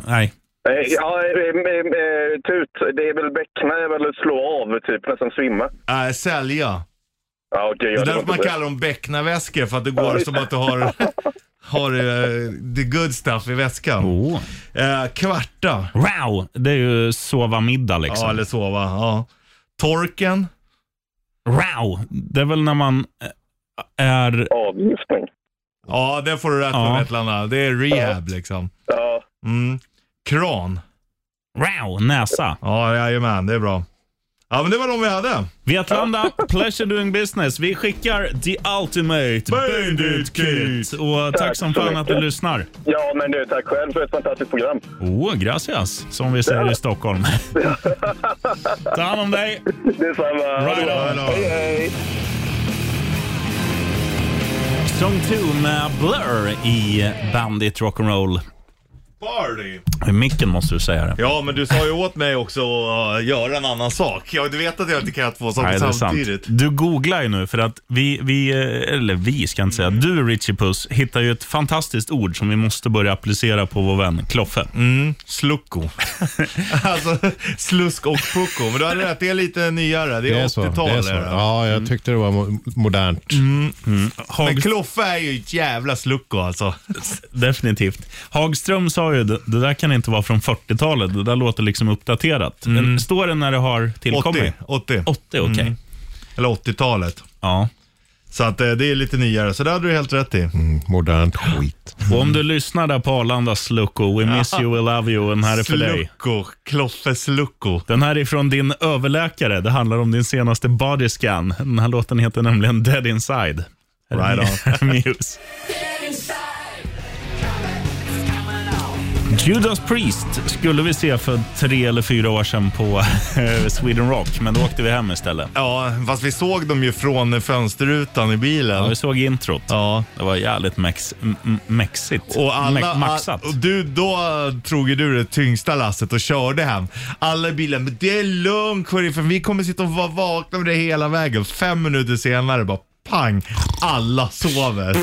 Nej.
Eh, Ja, eh, eh, eh, tut. Det är väl bäckna, är väl att slå av, typ nästan svimma.
Nej, äh, sälja.
Ja,
Det
okej. ja,
är
var
därför
inte
man
bra.
kallar dem bäcknaväskor, för att det går som att du har, har eh, the good stuff i väskan.
Oh.
Eh, kvarta.
Wow, det är ju sova middag liksom.
Ja, eller sova. Ja. Torken.
Wow, det är väl när man eh, är...
Avgiftning.
Ja, det får du rätt
Ja.
för Vetlanda. Det är rehab liksom.
Ja.
Mm. Kran.
Wow, näsa.
Ja, jajamän. Det är bra. Ja, men det var de vi hade.
Vetlanda,
[laughs]
pleasure doing business. Vi skickar the ultimate bandit kit. Och tack, som
så
fan
mycket.
att du lyssnar.
Ja, men du, tack själv för ett fantastiskt program. [laughs]
Oh, gracias, som vi säger
[laughs]
i Stockholm. Ta hand om dig.
Detsamma.
Right on.
Hej, hej.
Song 2 med Blur i Bandit Rock'n'Roll.
Party.
I micken måste du säga det.
Ja, men du sa ju åt mig också att uh, göra en annan sak. Ja, du vet att jag inte kan göra två saker
Nej, det är sant.
samtidigt.
Du googlar ju nu för att vi, vi eh, eller vi ska jag inte säga,
Mm.
du Richie Puss hittar ju ett fantastiskt ord som vi måste börja applicera på vår vän Kloffe.
Mm, slucko. [laughs] alltså, slusk och pucko. Men du hade rätt, det är lite nyare. Det är, 80-tal.
det är så.
är det. Mm.
Ja, jag tyckte det var mo- modernt.
Men Kloffe är ju ett jävla slucko alltså.
Definitivt. Hagström sa ju det, det där kan inte vara från 40-talet, det där låter liksom uppdaterat. Men Står det när det har tillkommit?
80, 80.
80 okej.
Mm. Eller 80-talet.
Ja.
Så att eh, det är lite nyare, så det hade du helt rätt i.
Mm,
[gasps]
modernt skit.
Och om du lyssnar där på Arlanda Slucko, we miss you, we love you, den här är för dig.
Slucko, Kloffe Slucko.
Den här är från din överläkare. Det handlar om din senaste body scan. Den här låten heter nämligen Dead Inside.
Right
on. [laughs] Muse. Judas Priest skulle vi se för tre eller fyra år sedan på eh, Sweden Rock, men då åkte vi hem istället.
Ja, fast vi såg dem ju från fönsterrutan i bilen.
Ja, vi såg introt.
Ja.
Det var jävligt mex, m- m- mexigt.
Och alla, [laughs]
Mex- maxat.
och du, då eh, drog ju du det tyngsta lasset och körde hem. Alla i bilen, men det är lugnt sheriffen, vi kommer sitta och vara vakna med det hela vägen. Fem minuter senare bara pang, alla sover.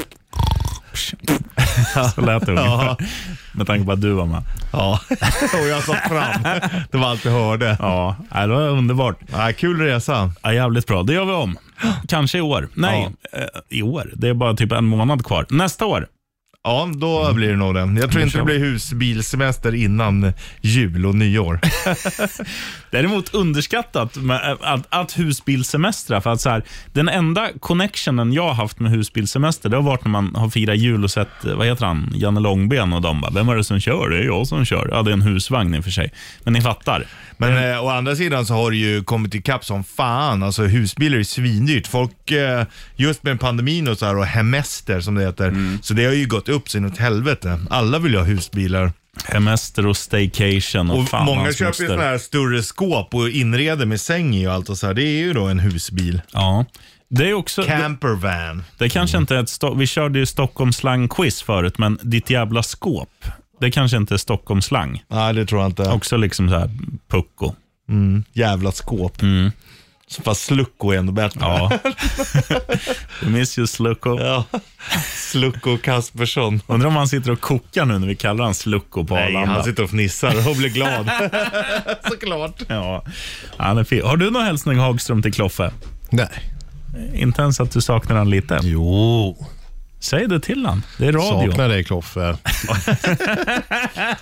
Så lät det ungefär. Med tanke på att du var med.
Ja, [laughs] och jag sa fram. Det var allt jag hörde.
Ja, det var underbart.
Ja, kul resa.
Ja, jävligt bra. Det gör
[gasps]
vi om. Kanske i år. Nej, eh, i år. Det är bara typ en månad kvar. Nästa år.
Ja, då blir Mm. det nog den. Jag tror inte det blir husbilsemester innan jul och nyår.
Däremot underskattat med eh, att, att husbilsemestra. För att så här, den enda connectionen jag har haft med husbilsemester det har varit när man har firat jul och sett eh, vad heter han, Janne Långben och de bara, vem är det som kör? Det är jag som kör. Ja, det är en husvagn i och för sig. Men ni fattar. Mm.
Men eh, å andra sidan så har det ju kommit ikapp som fan. Alltså husbilar är ju svindyrt. Folk, eh, just med pandemin och så här och hemester som det heter,
Mm.
så det har ju gått upp så inåt helvete. Alla vill ju ha husbilar.
Hemester och staycation och,
Och
fan
många
hans
köper ju
moster.
sådana här större skåp och inreder med säng i och allt och så här. Det är ju då en husbil.
Ja. Det är också...
Campervan.
Det kanske inte är ett Sto- Vi körde ju Stockholmsslang-quiz förut, men ditt jävla skåp. Det kanske inte är Stockholmsslang.
Nej, det tror jag inte.
Också liksom så här pucko.
Mm. Jävla skåp. Fast Slucko är ändå bättre.
Ja.
[laughs]
Du minns ju Slucko.
Ja. Slucko Kaspersson.
Undrar om han sitter och kokar nu när vi kallar han Slucko på
Nej,
Arlanda.
han sitter och fnissar och blir glad.
Såklart. Ja. Han är fin. Har du någon hälsning Hagström till Kloffe?
Nej.
Inte ens att du saknar han lite?
Jo.
Säg det till han. Det är radio.
Saknar dig Kloffe.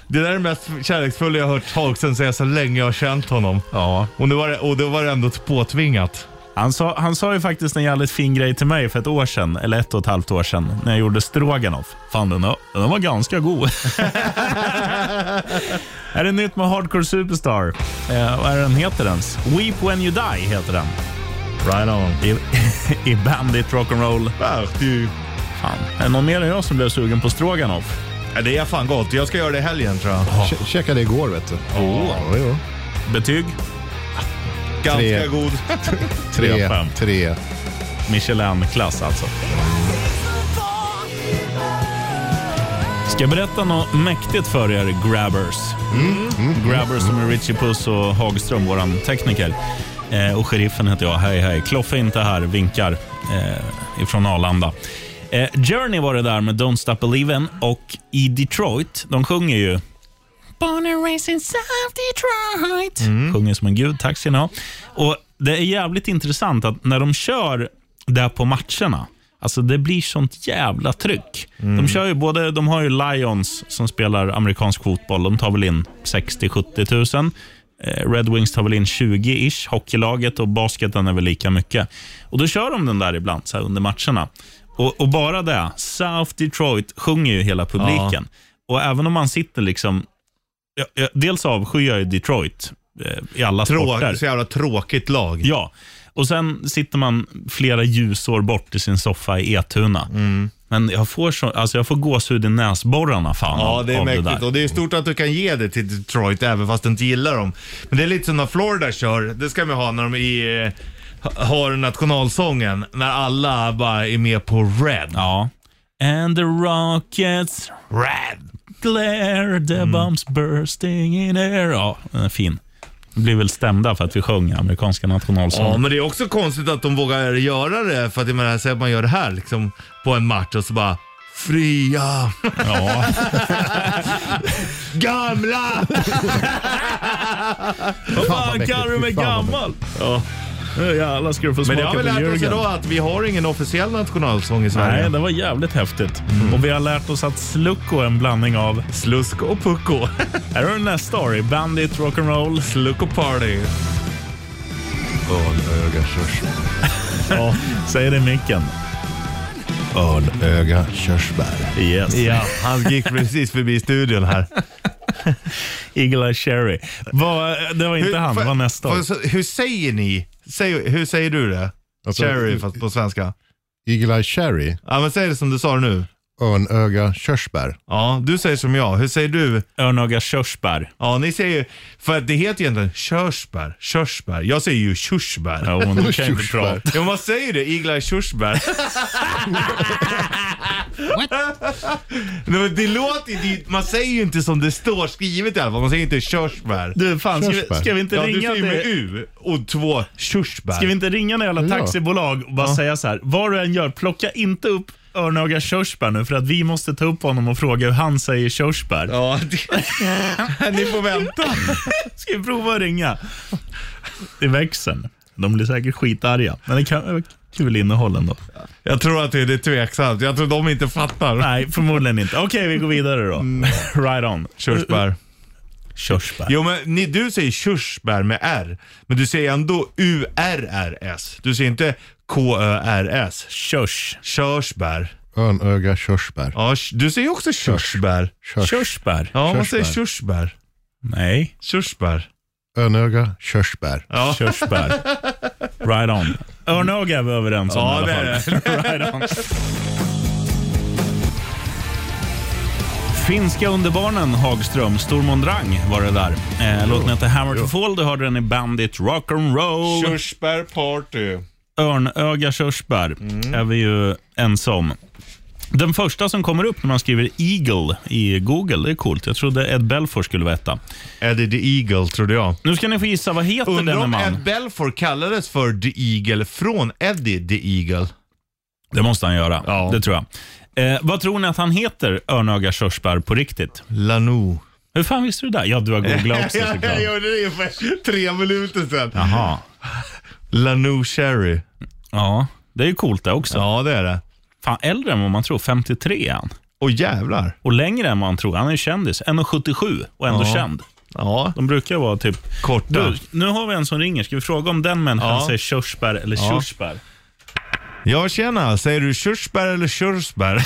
Det där är det mest kärleksfulla jag har hört Hagström säga så länge jag har känt honom.
Ja.
Och, nu var det, och då var det ändå påtvingat.
Han sa, han sa ju faktiskt en jävligt fin grej till mig för ett år sedan, eller ett och ett halvt år sedan, när jag gjorde stroganoff. Fan, den, har- den var
[laughs]
ganska god. är det nytt med Hardcore Superstar? Eh, vad är den heter ens? Weep When You Die heter den.
Right on.
I, [laughs] i Bandit Rock'n'Roll.
Wow, du.
Fan, är det någon mer än jag som blev sugen på stroganoff?
Ja, det är fan gott. Jag ska göra det i helgen tror jag.
Che- Checkade igår vet du. Ja, jo.
Betyg?
Ganska
Tre.
god.
Tre,
fem.
tre.
Michelin-klass alltså. Ska jag berätta något mäktigt för er grabbers? Grabbers som är Richie Puss och Hagström, våran tekniker. Eh, och sheriffen heter jag. Hej, hej. Kloffe är inte här, vinkar eh, ifrån Arlanda. Eh, Journey var det där med Don't Stop Believin' och i Detroit, de sjunger ju Born and raised in South Detroit. Mm. Sjunger som en gud, tack ska ni ha. Och det är jävligt intressant att när de kör där på matcherna, alltså det blir sånt jävla tryck. De kör ju både, de har ju Lions som spelar amerikansk fotboll, de tar väl in 60-70 000. Eh, Red Wings tar väl in 20-ish, hockeylaget och basketen är väl lika mycket. Och då kör de den där ibland så här under matcherna. Och, och bara det, South Detroit sjunger ju hela publiken. Och även om man sitter liksom jag, jag, dels avskyr jag ju Detroit eh, i alla sporter.
Trå- så jävla tråkigt lag.
Ja, och sen sitter man flera ljusår bort i sin soffa i Etuna. Men jag får, så, alltså jag får gåshud i näsborrarna fan
Ja,
av-
det är
av
mäktigt.
där.
och det är stort att du kan ge det till Detroit även fast du inte gillar dem. Men det är lite som när Florida kör, det ska man ha när de i, eh, har nationalsången. När alla bara är med på Red.
Ja. And the rockets
Red!
glare, the bombs bursting in air. Ja, den är fin. Vi blir väl stämda för att vi sjöng amerikanska
Ja,
nationalsången.
men det är också konstigt att de vågar göra det. För att jag menar, säg att man gör det här liksom på en match och så bara Fria!
[laughs] Ja.
Gamla!
Vad
vad
fan
mäktigt.
kan du med
Fy fan vad
gammal? Ja. Nu jävlar ska du få
Men det
smaka
har
på
vi lärt oss
Jürgen.
idag att vi har ingen officiell nationalsång i Sverige.
Nej, det var jävligt häftigt. Och vi har lärt oss att Slucko är en blandning av...
Mm. Slusk och pucko.
[laughs] Här har du nästa story. Bandit, rock'n'roll.
Sluck och party.
Ölöga
[laughs]
körsbär.
Säg det i micken.
Ölöga körsbär.
Yes.
Ja, han gick precis förbi studion här.
Eagle Eye Cherry. Vad- det var inte han, det var nästa.
Får- får- Hur säger ni? Säg, hur säger du det?
Alltså,
Cherry
i-
fast på svenska.
Eagle Eye Cherry.
Ja men säg det som du sa nu.
Örnöga körsbär.
Ja, du säger som jag. Hur säger du?
Örnöga körsbär.
Ja, ni säger ju, för att det heter egentligen körsbär, körsbär. Jag säger ju körsbär.
Jo, men du kan inte
Körsbär.
prata.
Ja, man säger det. Igla körsbär. Nej, men det låter ju, man säger ju inte som det står skrivet i alla fall. Man säger inte körsbär.
Du, fan, ska vi,
Körsbär.
ska vi inte
Ja, du
ringa
säger med
till...
U och två körsbär.
Ska vi inte ringa några jävla
Ja.
taxibolag och bara säga så här. Vad du än gör, plocka inte upp örnöga körsbär nu för att vi måste ta upp honom och fråga hur han säger körsbär.
Ja,
[laughs]
ni får vänta.
Ska vi prova att ringa? Det är växeln. De blir säkert skitarga, men det kan vara kul innehåll ändå.
Jag tror att det är tveksamt. Jag tror de inte fattar.
Nej, förmodligen inte. Okej, vi går vidare då. right on.
Körsbär.
Körsbär.
Jo, men ni, du säger körsbär med R, men du säger ändå U-R-R-S. Du säger inte K-Ö-R-S.
Körs.
Körsbär.
Örnöga körsbär.
Ja, sh- du säger också körsbär.
Körs.
Körsbär.
Ja, man
Körsbär.
säger körsbär.
Nej.
Körsbär.
Örnöga körsbär.
Ja.
Körsbär. Right on. Örnöga är vi överens om i
Ja,
alla
det
fall.
är det. [laughs]
right on. Finska underbarnen Hagström, Stormondrang var det där. Eh, låten heter Hammer to Fall, du hörde den i Bandit Rock'n'Roll.
Körsbär party. Mm.
Örnöga körsbär är vi ju ensam. Den första som kommer upp när man skriver Eagle i Google, det är coolt. Jag trodde Ed Belfour skulle veta.
Eddie the Eagle, trodde jag.
Nu ska ni få gissa, vad heter
Undrar
denne
om
man?
Ed Belfour kallades för The Eagle från Eddie the Eagle.
Det måste han göra,
Ja.
det tror jag. Eh, vad tror ni att han heter, Örnöga körsbär, på riktigt?
Lanou.
Hur fan visste du det där? Ja, du har googlat också
[laughs]
såklart.
Jag gjorde det för tre minuter sedan.
Jaha.
Lanou Cherry.
Ja, det är ju coolt det också.
Oh, Ja, det är det.
Fan, äldre än vad man tror. 53 är han.
Åh jävlar.
Och längre än vad man tror. Han är ju kändis. 1,77 och ändå
Ja.
känd.
Ja,
De brukar vara typ...
korta.
Du, nu har vi en som ringer. Ska vi fråga om den människan
Ja.
säger körsbär eller
Ja.
körsbär?
Ja, tjena. Säger du körsbär eller körsbär?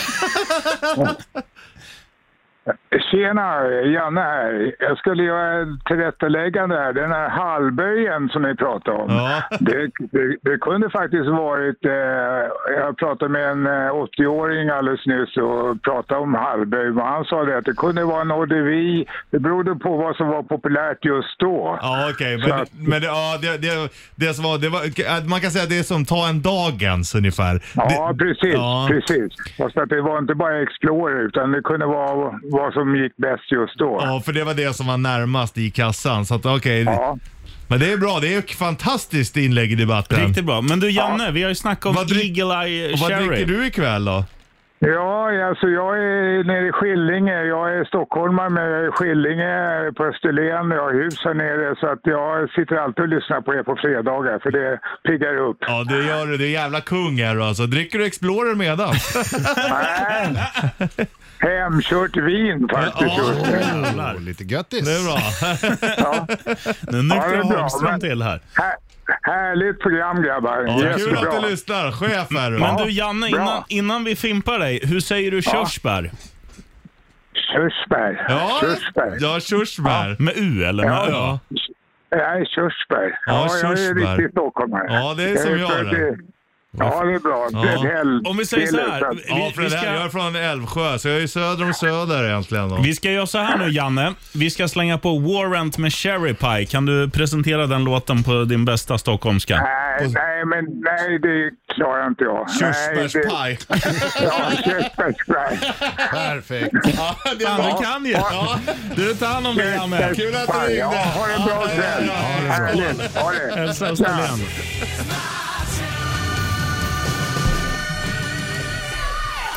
Tjena, Janne här. Jag skulle göra ett tillrättaläggande här. Den här hallböjen som ni pratade om.
Ja.
Det, det, det kunde faktiskt varit... Eh, jag pratade med en eh, 80-åring alldeles nyss och pratade om hallböj. Men Han sa det att det kunde vara en ordevi. Det berodde på vad som var populärt just då.
Ja, okej.
Så
Men,
att-
men det- ja, det, det, det som var, det var, man kan säga att det är som ta en dagens ungefär.
Ja,
det,
precis.
ja.
precis. Fast att det var inte bara Explorer, utan det kunde vara vad som gick bäst just då.
ja, för det var det som var närmast i kassan. Så att okej.
Ja.
Men det är bra. Det är ett fantastiskt inlägg i debatten.
Riktigt bra. Men du Janne, vi har ju snackat om
Vad drick-
Eagle Eye
Och vad
Cherry.
dricker du ikväll då?
Ja, alltså jag är nere i Skillinge. Jag är stockholmare, men jag är i Skillinge på Österlen. Jag har hus här nere, så att jag sitter alltid och lyssnar på er på fredagar, för det piggar upp.
Ja, det gör du. Du är jävla kung här alltså. Dricker du Explorer medan?
Nej. Hemkört vin faktiskt just nu.
Åh, lite göttis.
Det är bra.
[laughs]
Nu
Ja, det
nyktrar
är bra,
Hagström
men-
till här.
Här, härligt program grabbar.
Kul
Jättebra.
att du lyssnar. Chef är du.
Men
Ja,
du Janne,
bra.
innan, innan vi fimpar dig, hur säger du körsbär?
Körsbär.
Ja,
Körsbär.
ja körsbär.
Med U eller med
Ja.
Ö?
Ja.
Jag är körsbär.
Ja,
Ja, jag är
körsbär.
riktig stockholmare.
Ja, det är som jag
född
det.
i- Ja, det är bra.
Ja.
Bredhäll.
Om vi säger så här,
Det är lätt att-
Ja, för
Vi- vi
det
ska-
här, jag är från Älvsjö, så jag är söder om söder egentligen. Då.
Vi ska göra så här nu Janne. Vi ska slänga på Warrant med Cherry Pie. Kan du presentera den låten på din bästa
Äh,
stockholmska?
Nej, nej, men nej, det klarar inte jag. Nej,
Körsbärspaj.
det- Ja,
[laughs]
körsbärspaj.
Perfekt.
Ja, det är
Fan,
bra.
du kan ju! Du, ta hand om dig Janne.
Kul att du ringde.
Ja, ha en bra
Ja, ja,
kväll.
ja, ja, ja.
Härligt. Ha det.
Hälsa Österlen.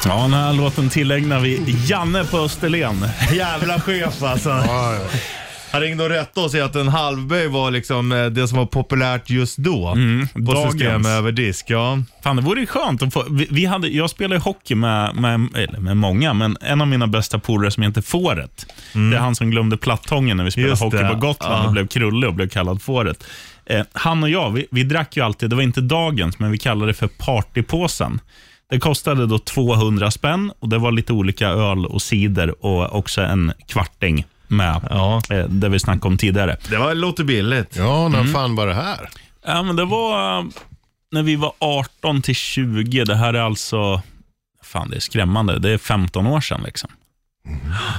Ja, den här låten tillägnar vi Janne på Österlen.
Jävla chef alltså. Han ringde och rättade och sa att en halvböj var liksom eh, det som var populärt just då. på
dagens.
system över disk, ja.
Fan, det vore ju skönt att få... Vi, vi hade, jag spelar ju hockey med, med, eller med många, men en av mina bästa polare som heter Fåret. Det är han som glömde plattången när vi spelade
Mm. Just
hockey
det,
på Gotland
ja.
och blev krulle och blev kallad Fåret. Eh, han och jag, vi, vi drack ju alltid, det var inte dagens, men vi kallade det för partypåsen. Det kostade då 200 spänn och det var lite olika öl och cider och också en kvarting med,
Ja.
eh, det vi snackade om tidigare.
Det var, låter billigt.
Ja, när
Mm.
fan var det här?
Ja, men det var eh, när vi var 18 till 20. Det här är alltså, fan det är skrämmande, det är 15 år sedan liksom.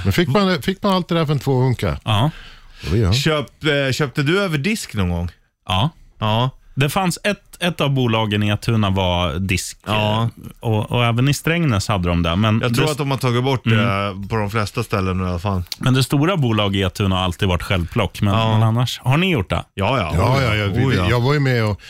Men fick man, fick man allt det där för en tvåhunka?
Ja.
Oj, ja.
Köp, eh, köpte du över disk någon gång?
ja.
Ja.
Det fanns ett, ett av bolagen i Attuna var disk
Ja.
eh, och, och även i Strängnäs hade de det. Men,
Jag tror
det,
att de har tagit bort det på de flesta ställen nu i alla fall.
men det stora bolaget i Attuna har alltid varit självplock. Men,
Ja.
men annars, har ni gjort det?
Ja, ja.
Ja, ja, ja, vi,
Oh, ja.
jag var ju med och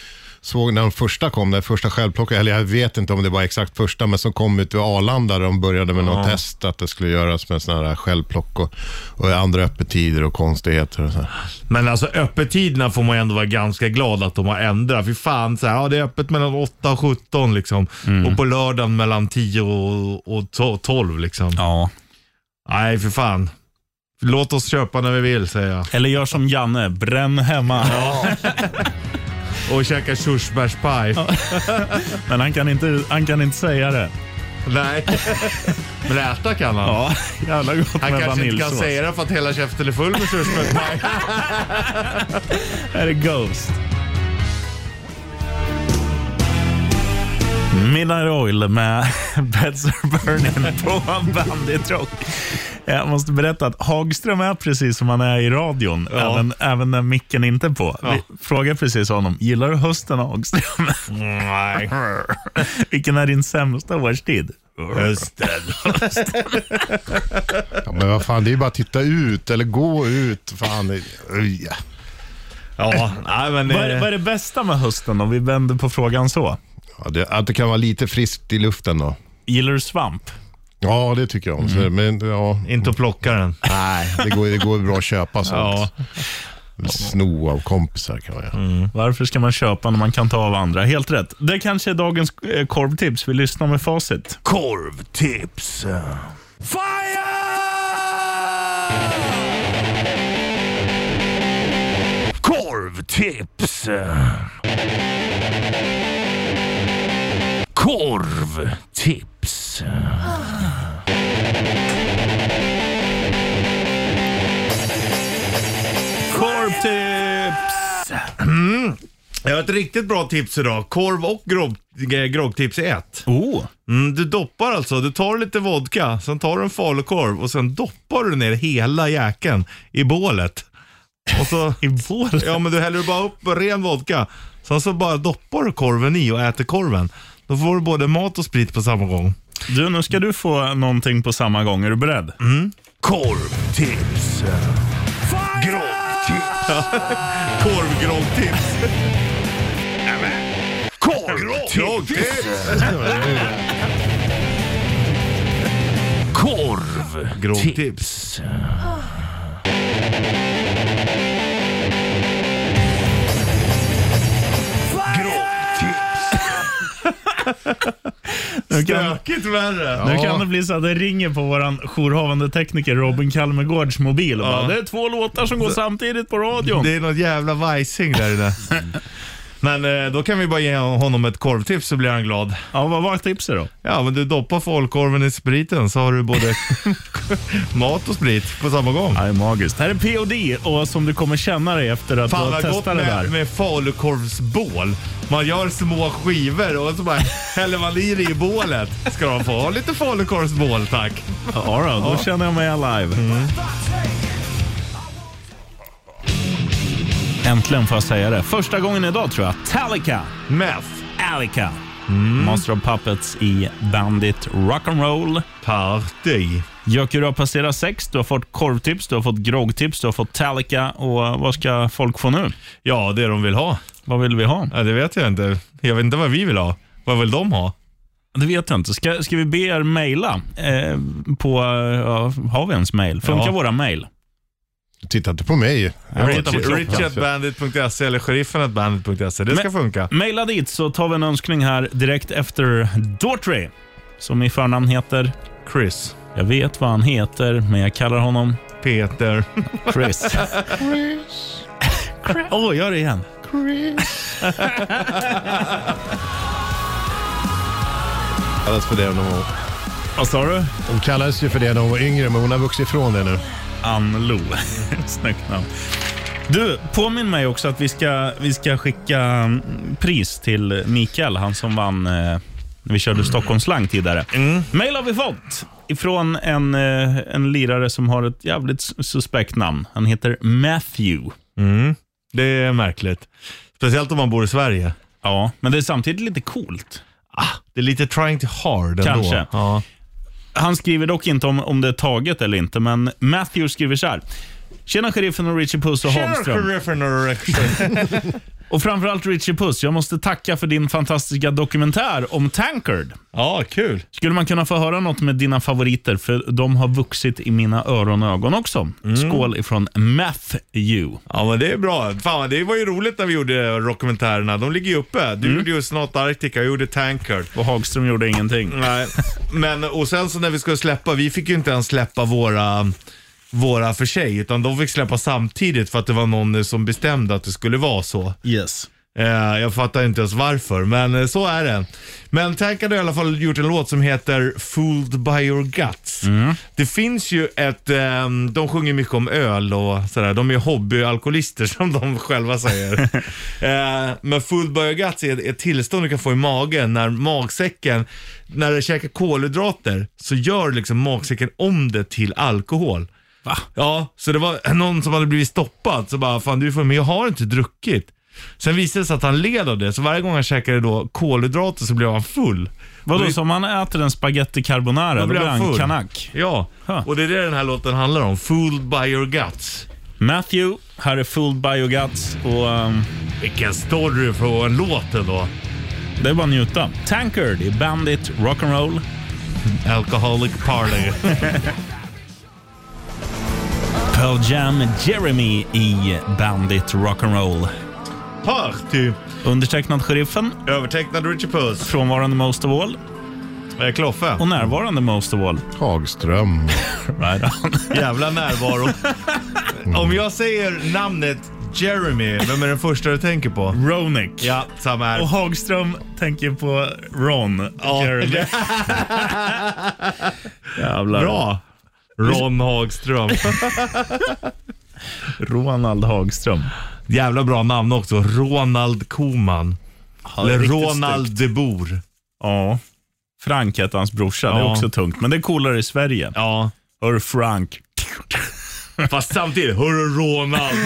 såg när de första kom, när första självplockade, eller jag vet inte om det var exakt första, men som kom ut vid Arlanda där de började med något
Ja.
test att det skulle göras med sådana här självplock och, och andra öppettider och konstigheter och så här.
Men alltså öppettiderna får man ju ändå vara ganska glad att de har ändrat. Fy fan, så här, ja, det är öppet mellan 8 och 17 liksom. Och på lördagen mellan 10 och, och to- 12 liksom.
Ja.
Nej, för fan. Låt oss köpa när vi vill, säger jag.
Eller gör som Janne, bränn hemma.
och käka körsbärspaj.
Men han kan, inte, han kan inte säga det.
[laughs] Nej. Men äta kan han.
Ja, jävla gott
Han
med
kanske inte kan
vaniljsås.
säga det för att hela käften är full med körsbärspaj.
Här är Ghost. Midnight Oil med [laughs] Beds Are Burning på Bandit Rock. Jag måste berätta att Hagström är precis som han är i radion, även, även när micken inte är på. Vi frågar precis honom, gillar du hösten Hagström?
Nej.
[laughs] Vilken är din sämsta årstid?
Hösten.
[laughs]
Ja, men vad fan, det är ju bara att titta ut eller gå ut. Fan, det, Oj.
Ja, nej, men,
vad, är,
eh,
vad är det bästa med hösten om vi vänder på frågan så?
Ja, det, att det kan vara lite friskt i luften då.
Gillar du svamp?
Ja, det tycker jag om.
Mm.
Så, men, ja.
Inte att plocka den.
Nej, det går, det går bra att köpa sånt. Eller Sno av kompisar kan man göra.
Varför ska man köpa när man kan ta av andra? Helt rätt. Det kanske är dagens eh, korvtips. Vi lyssnar med facit.
Korvtips.
Korvtips! Korvtips!
Korvtips! Mm. Jag har ett riktigt bra tips idag. Korv och grogg- eh, groggtips i ett.
Oh.
Mm, du doppar alltså, du tar lite vodka, sen tar du en falukorv och sen doppar du ner hela jäkeln i bålet. Och [laughs] så,
I bålet?
Ja, men du häller bara upp ren vodka. Sen så bara doppar du korven i och äter korven. Då får du både mat och sprit på samma gång.
Du, nu ska du få någonting på samma gång. Är du beredd?
Mm.
Korvtips!
Groggtips! Korvgroggtips!
Korvtips!
Groggtips.
Nu kan,
Stökigt värre.
nu kan det bli så att det ringer på vår jourhavande tekniker Robin Kalmegårds mobil. Och
Ja.
bara, det är två låtar som går samtidigt på radion. Mm.
Det är något jävla vajsing där
[laughs]
inne. Men eh, då kan vi bara ge honom ett korvtips så blir han glad.
Ja, vad var tipset då?
Ja, men du doppar folkorven i spriten så har du
[laughs]
både mat och sprit på samma gång.
Ja, det är magiskt. Här är POD och som du kommer känna dig efter att
Fan
du har
vad gott
testat det där.
med, med falukorvsbål. Man gör små skivor och så bara [laughs] häller man i det i bålet. Ska de få ha lite falukorvsbål tack?
Ja, Mm. då, då känner jag mig alive. Äntligen får jag säga det. Första gången idag tror jag. Talica.
Meth.
Alica. Master of Puppets i Bandit Rock'n'Roll.
Party.
Jöker, du har passerat sex, du har fått korvtips, du har fått groggtips, du har fått Talica och vad ska folk få nu?
Ja, det de vill ha.
Vad vill vi ha?
Ja, det vet jag inte. Jag vet inte vad vi vill ha. Vad vill de ha?
Det vet jag inte. Ska, ska vi be er mejla? Eh, på, eh, ja, har vi ens mejl? Funkar
Ja.
våra mejl?
Titta inte på mig. Jag har inte-
Richard- Richardbandit.se E eller sheriffen.bandit.se. E. Det ska
Men-
funka.
Maila dit så tar vi en önskning här direkt efter Daughtry, som i förnamn heter...
Chris.
Jag vet vad han heter, men jag kallar honom...
Peter. [laughs]
Chris. Åh, gör det igen.
Kallades för det när hon var...
Vad sa du?
Hon kallades ju för det när hon var yngre, men hon har vuxit ifrån det nu.
Ann Lo. [laughs] Snyggt namn. Du, påminn mig också att vi ska, vi ska skicka mm, pris till Mikael, han som vann eh, när vi körde Stockholmsslang tidigare. Mail har vi fått ifrån en, eh, en lirare som har ett jävligt sus- suspekt namn. Han heter Matthew.
Mm. Det är märkligt. Speciellt om man bor i Sverige.
Ja, men det är samtidigt lite coolt.
Det är lite trying to hard ändå.
Kanske.
Ja.
Han skriver dock inte om, om det är taget eller inte, men Matthew skriver så här. Tjena sheriffen och Richie Puss och
Tjena,
Holmström.
sheriffen och
och framförallt Richie Puss, jag måste tacka för din fantastiska dokumentär om Tankard.
Ja, kul.
Skulle man kunna få höra något med dina favoriter? För de har vuxit i mina öron och ögon också. Skål ifrån Matthew.
Ja, men det är bra. Fan, det var ju roligt när vi gjorde dokumentärerna. De ligger ju uppe. Du gjorde ju Snart Arctica, jag gjorde Tankard.
Och Hagström gjorde ingenting.
Nej, men och sen så när vi skulle släppa, vi fick ju inte ens släppa våra våra för sig, utan de fick släppa samtidigt för att det var någon som bestämde att det skulle vara så.
Yes.
Eh, jag fattar inte ens varför, men eh, så är det. Men Tankard har i alla fall gjort en låt som heter Fooled by your guts. Det finns ju ett, ehm, de sjunger mycket om öl och sådär. De är hobbyalkoholister [laughs] som de själva säger. eh, men Fooled by your guts är ett- ett tillstånd du kan få i magen när magsäcken, när du käkar kolhydrater så gör liksom magsäcken om det till alkohol.
Va?
Ja, så det var någon som hade blivit stoppad. Så bara, fan du får, men jag har inte druckit. Sen visade det sig att han led av det, så varje gång han käkade då kolhydrater så blev han full.
Vadå,
Då-
som man äter en spaghetti carbonara, då blir han
full.
kanak.
Ja, och det är det den här låten handlar om. Fooled by your guts.
Matthew, här är Fooled by your guts och... Um,
Vilken story för en låt ändå.
Det är bara att njuta. Tankard i Bandit Rock'n'Roll.
Alcoholic Party.
Pearl Jam Jeremy i Bandit Rock'n'Roll.
Party!
Undertecknad Sheriffen.
Övertecknad Richie Puss.
Frånvarande Most of All.
Kloffe.
Och närvarande Most of All.
Hagström.
right on.
Jävla närvaro. Om jag säger namnet Jeremy, vem är den första du tänker på?
[laughs] Ronick.
Ja, samma här.
Och Hagström tänker på Ron.
Ja.
[laughs] Jeremy. Jävlar.
Bra. Ron [laughs] Hagström.
Ronald Hagström.
Jävla bra namn också. Ronald Koman. Eller
riktigt
Ronald de Boer.
Ja. Frank hette hans brorsa. Det är
Ja.
också tungt, men det är coolare i Sverige.
Ja.
Hör Frank.
Fast samtidigt, hörru Ronald.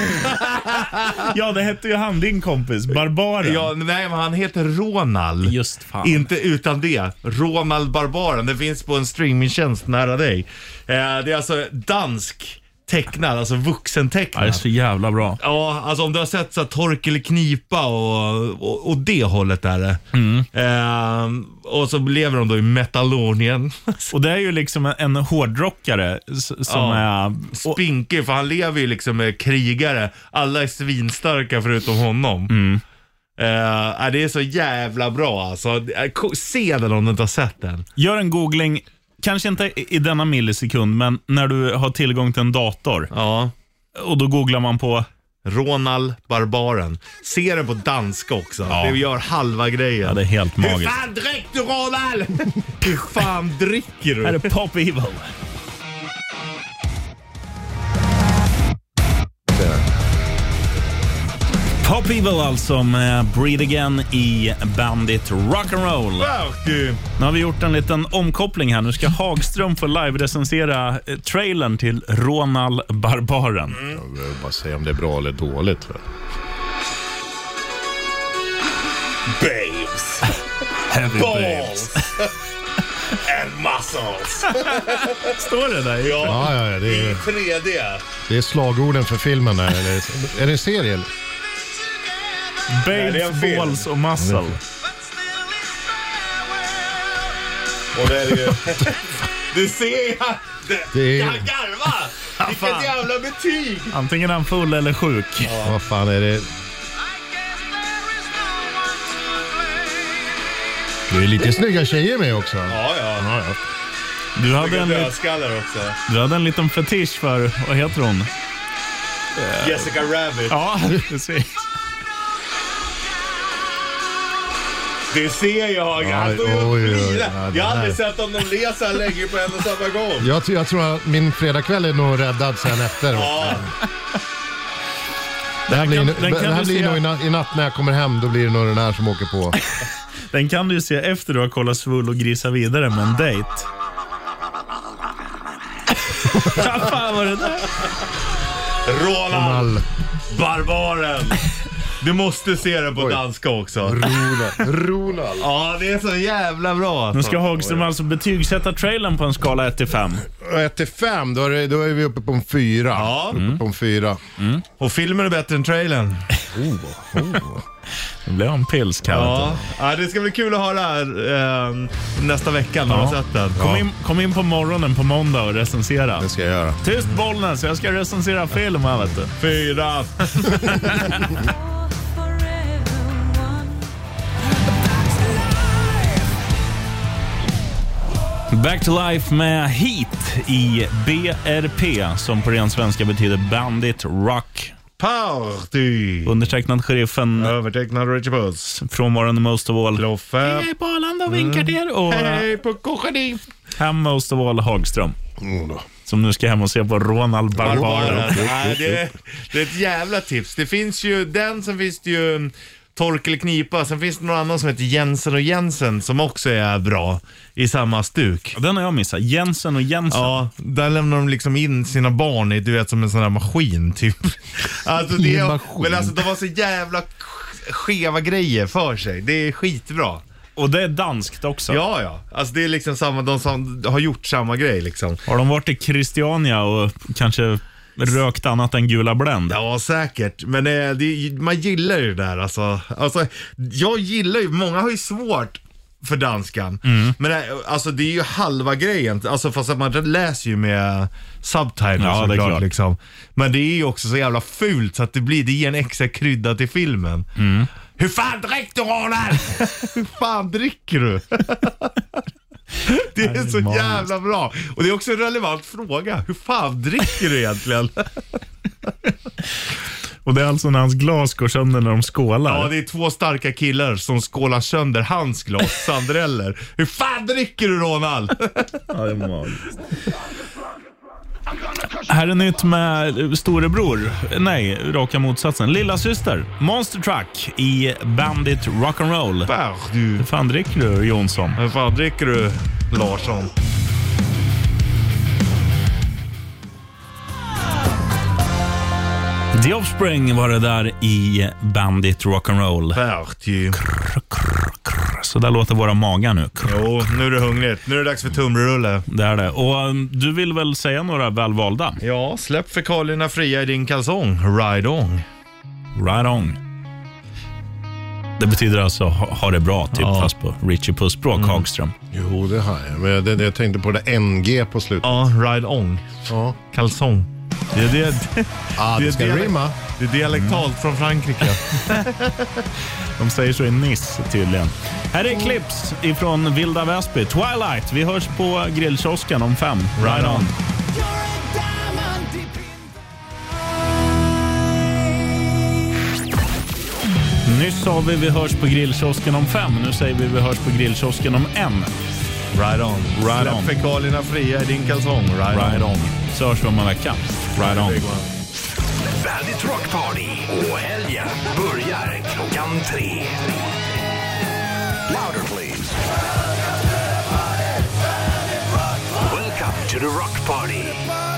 Ja, det hette ju han, din kompis. Barbaren.
[laughs] ja, nej, men han heter Ronald.
Just fan.
Inte utan det. Ronald Barbaren. Det finns på en streamingtjänst nära dig. Eh, det är alltså dansk tecknad, alltså
Ja, det är
vuxentecknad.
så jävla bra.
Ja, alltså om du har sett så här, Torkel Knipa och, och, och det hållet är det.
Mm.
Ehm, och så lever de då i Metalonien.
[laughs] Och det är ju liksom en- en hårdrockare s- som
Ja.
är... Och,
Spinkig, för han lever ju liksom med krigare. Alla är svinstarka förutom honom.
Mm.
Eh, äh, det är så jävla bra alltså. Eh, ko- Se den om du inte har sett den.
gör en googling, kanske inte i- i denna millisekund, men när du har tillgång till en dator.
Ja.
Och då googlar man på...
Ronald Barbaren. Se den på danska också.
Ja.
Det gör halva grejen.
Ja, det är helt
Hur
magiskt.
fan dricker du Ronald? [laughs] Hur fan dricker du?
Här är Pop Evil. Pop Evil alltså med Breed Again i Bandit Rock'n'Roll.
Party.
Nu har vi gjort en liten omkoppling här. Nu ska Hagström få live-recensera eh, trailern till Ronald Barbaren.
Mm.
Jag behöver bara säga om det är bra eller dåligt. va?
Babes.
[laughs]
Heavy
Balls. And muscles.
Står det där?
Ja, ja, ja, det, är,
3D.
det är slagorden för filmen. Där. Eller, är det en serie? eller?
det är en
Babes,
film. Mm.
balls och muscle.
Och det är det ju. [laughs] Du ser jag.
Det är,
Han [laughs] garvar. Vilket jävla betyg.
Antingen är han full eller sjuk.
vad fan är det? Det är lite snygga tjejer med också.
Ja, ja.
Ja, ja.
Du hade en, lit-
Dödskallar också.
du hade en liten fetisch för, vad heter hon?
Jessica Rabbit.
Ja, precis.
Det ser jag. Han
Aj,
står ju och
oj, oj, oj.
flinar.
Ja, den
Jag har aldrig
här.
sett om de ler så här länge på en och samma gång.
Jag, tror- jag tror att min fredagkväll är nog räddad sen efter.
Ja,
Det här blir,
kan-
no-
den kan
det här
du
blir
se.
nog i na- i natt när jag kommer hem, då blir det nog den här som åker på.
Den kan du ju se efter du har kollat Svull och grisa vidare med en
[laughs]
dejt. Vad fan var det där?
Roland.
All,
[laughs] Barbaren. Du måste se den på danska också. Rola. Rola. Ja, det är så jävla bra.
Nu ska Hagström alltså betygsätta trailern på en skala 1 till 5.
1 till 5, då är, det, då är vi uppe på en 4. Ja. Uppe på en 4.
Och filmen är bättre än trailern.
Oh, oh.
Det blev en pils
Ja. ja, det ska bli kul att ha det här eh, nästa vecka när man har sett den.
Kom, in, kom in på morgonen på måndag och recensera. Det
ska jag göra.
Tyst Bollnäs, jag ska recensera film här vet du.
Fyra.
Back to life med Heat i BRP som på ren svenska betyder Bandit Rock.
Party!
Undertecknad sheriffen.
Övertecknad Richie Puss.
Frånvarande most of all.
Kloffe.
Hej på Arlanda och vinkar till er. Och, eh,
Hej på Korsadiv.
Hem most of all Hagström. Som nu ska hem och se på Ronald Barbaro.
Nej, det, det är ett jävla tips. Det finns ju, den som finns det ju mm, Torkel Knipa, sen finns det någon annan som heter Jensen och Jensen som också är bra i samma stuk.
Den har jag missat. Jensen och Jensen.
Ja, där lämnar de liksom in sina barn i, du vet, som en sån här maskin typ. Alltså, det är, men alltså de har så jävla skeva grejer för sig. Det är skitbra.
Och det är danskt också.
Ja, ja. Alltså det är liksom samma, de som har gjort samma grej liksom.
Har de varit i Christiania och kanske rökt annat än gula Blend?
Ja, säkert. Men eh, det, man gillar ju det där alltså. alltså. Jag gillar ju, många har ju svårt för danskan.
Mm.
Men eh, alltså det är ju halva grejen. Alltså fast att man läser ju med subtitles
Ja, det är
såklart,
klart.
liksom. Men det är ju också så jävla fult så att det blir, det ger en extra krydda till filmen.
Mm.
Hur fan dricker du
[laughs]
Ronald? Hur fan dricker du? Det är så jävla bra. Och det är också en relevant fråga. Hur fan dricker du egentligen?
Och det är alltså när hans glas går sönder när de skålar.
Ja, det är två starka killar som skålar sönder hans glas, sandreller. Hur fan dricker du Ronald?
Ja, det är magiskt. Här är nytt med storebror. Nej, raka motsatsen. Lilla syster. Monster Truck i Bandit Rock'n'Roll.
Du.
Hur fan dricker du Jonsson?
Hur fan dricker du Larsson?
The Offspring var det där i Bandit Rock'n'Roll.
Party.
Så där låter våra magar nu.
Jo, nu är det hungrigt. Nu är det dags för tumrulle.
Det är det. Och um, du vill väl säga några välvalda?
Ja, släpp fekalierna fria i din kalsong. Ride on.
Right on. Det betyder alltså ha, ha det bra, typ, fast på Richie Puss-språk, Hagström.
Jo, det har jag. Men jag, det, det, jag tänkte på det där NG på slutet.
Ja, ride on.
Ja.
Kalsong. Det är det,
Ah, det ska
dialek-
rimma.
det är dialektalt från Frankrike.
De säger så i Nice tydligen. Här är Clips ifrån Vilda Väsby, Twilight. Vi hörs på grillkiosken om fem. Right on. Nyss sa vi vi hörs på grillkiosken om fem. Nu säger vi vi hörs på grillkiosken om en.
Ride on.
Right
Släpp
on.
fekalierna fria i din kalsong. Ride,
Right
on.
on. Så hörs vi om en vecka. Right on.
Bandit Rock Party och helgen börjar klockan tre. Louder please. Welcome to the Rock Party.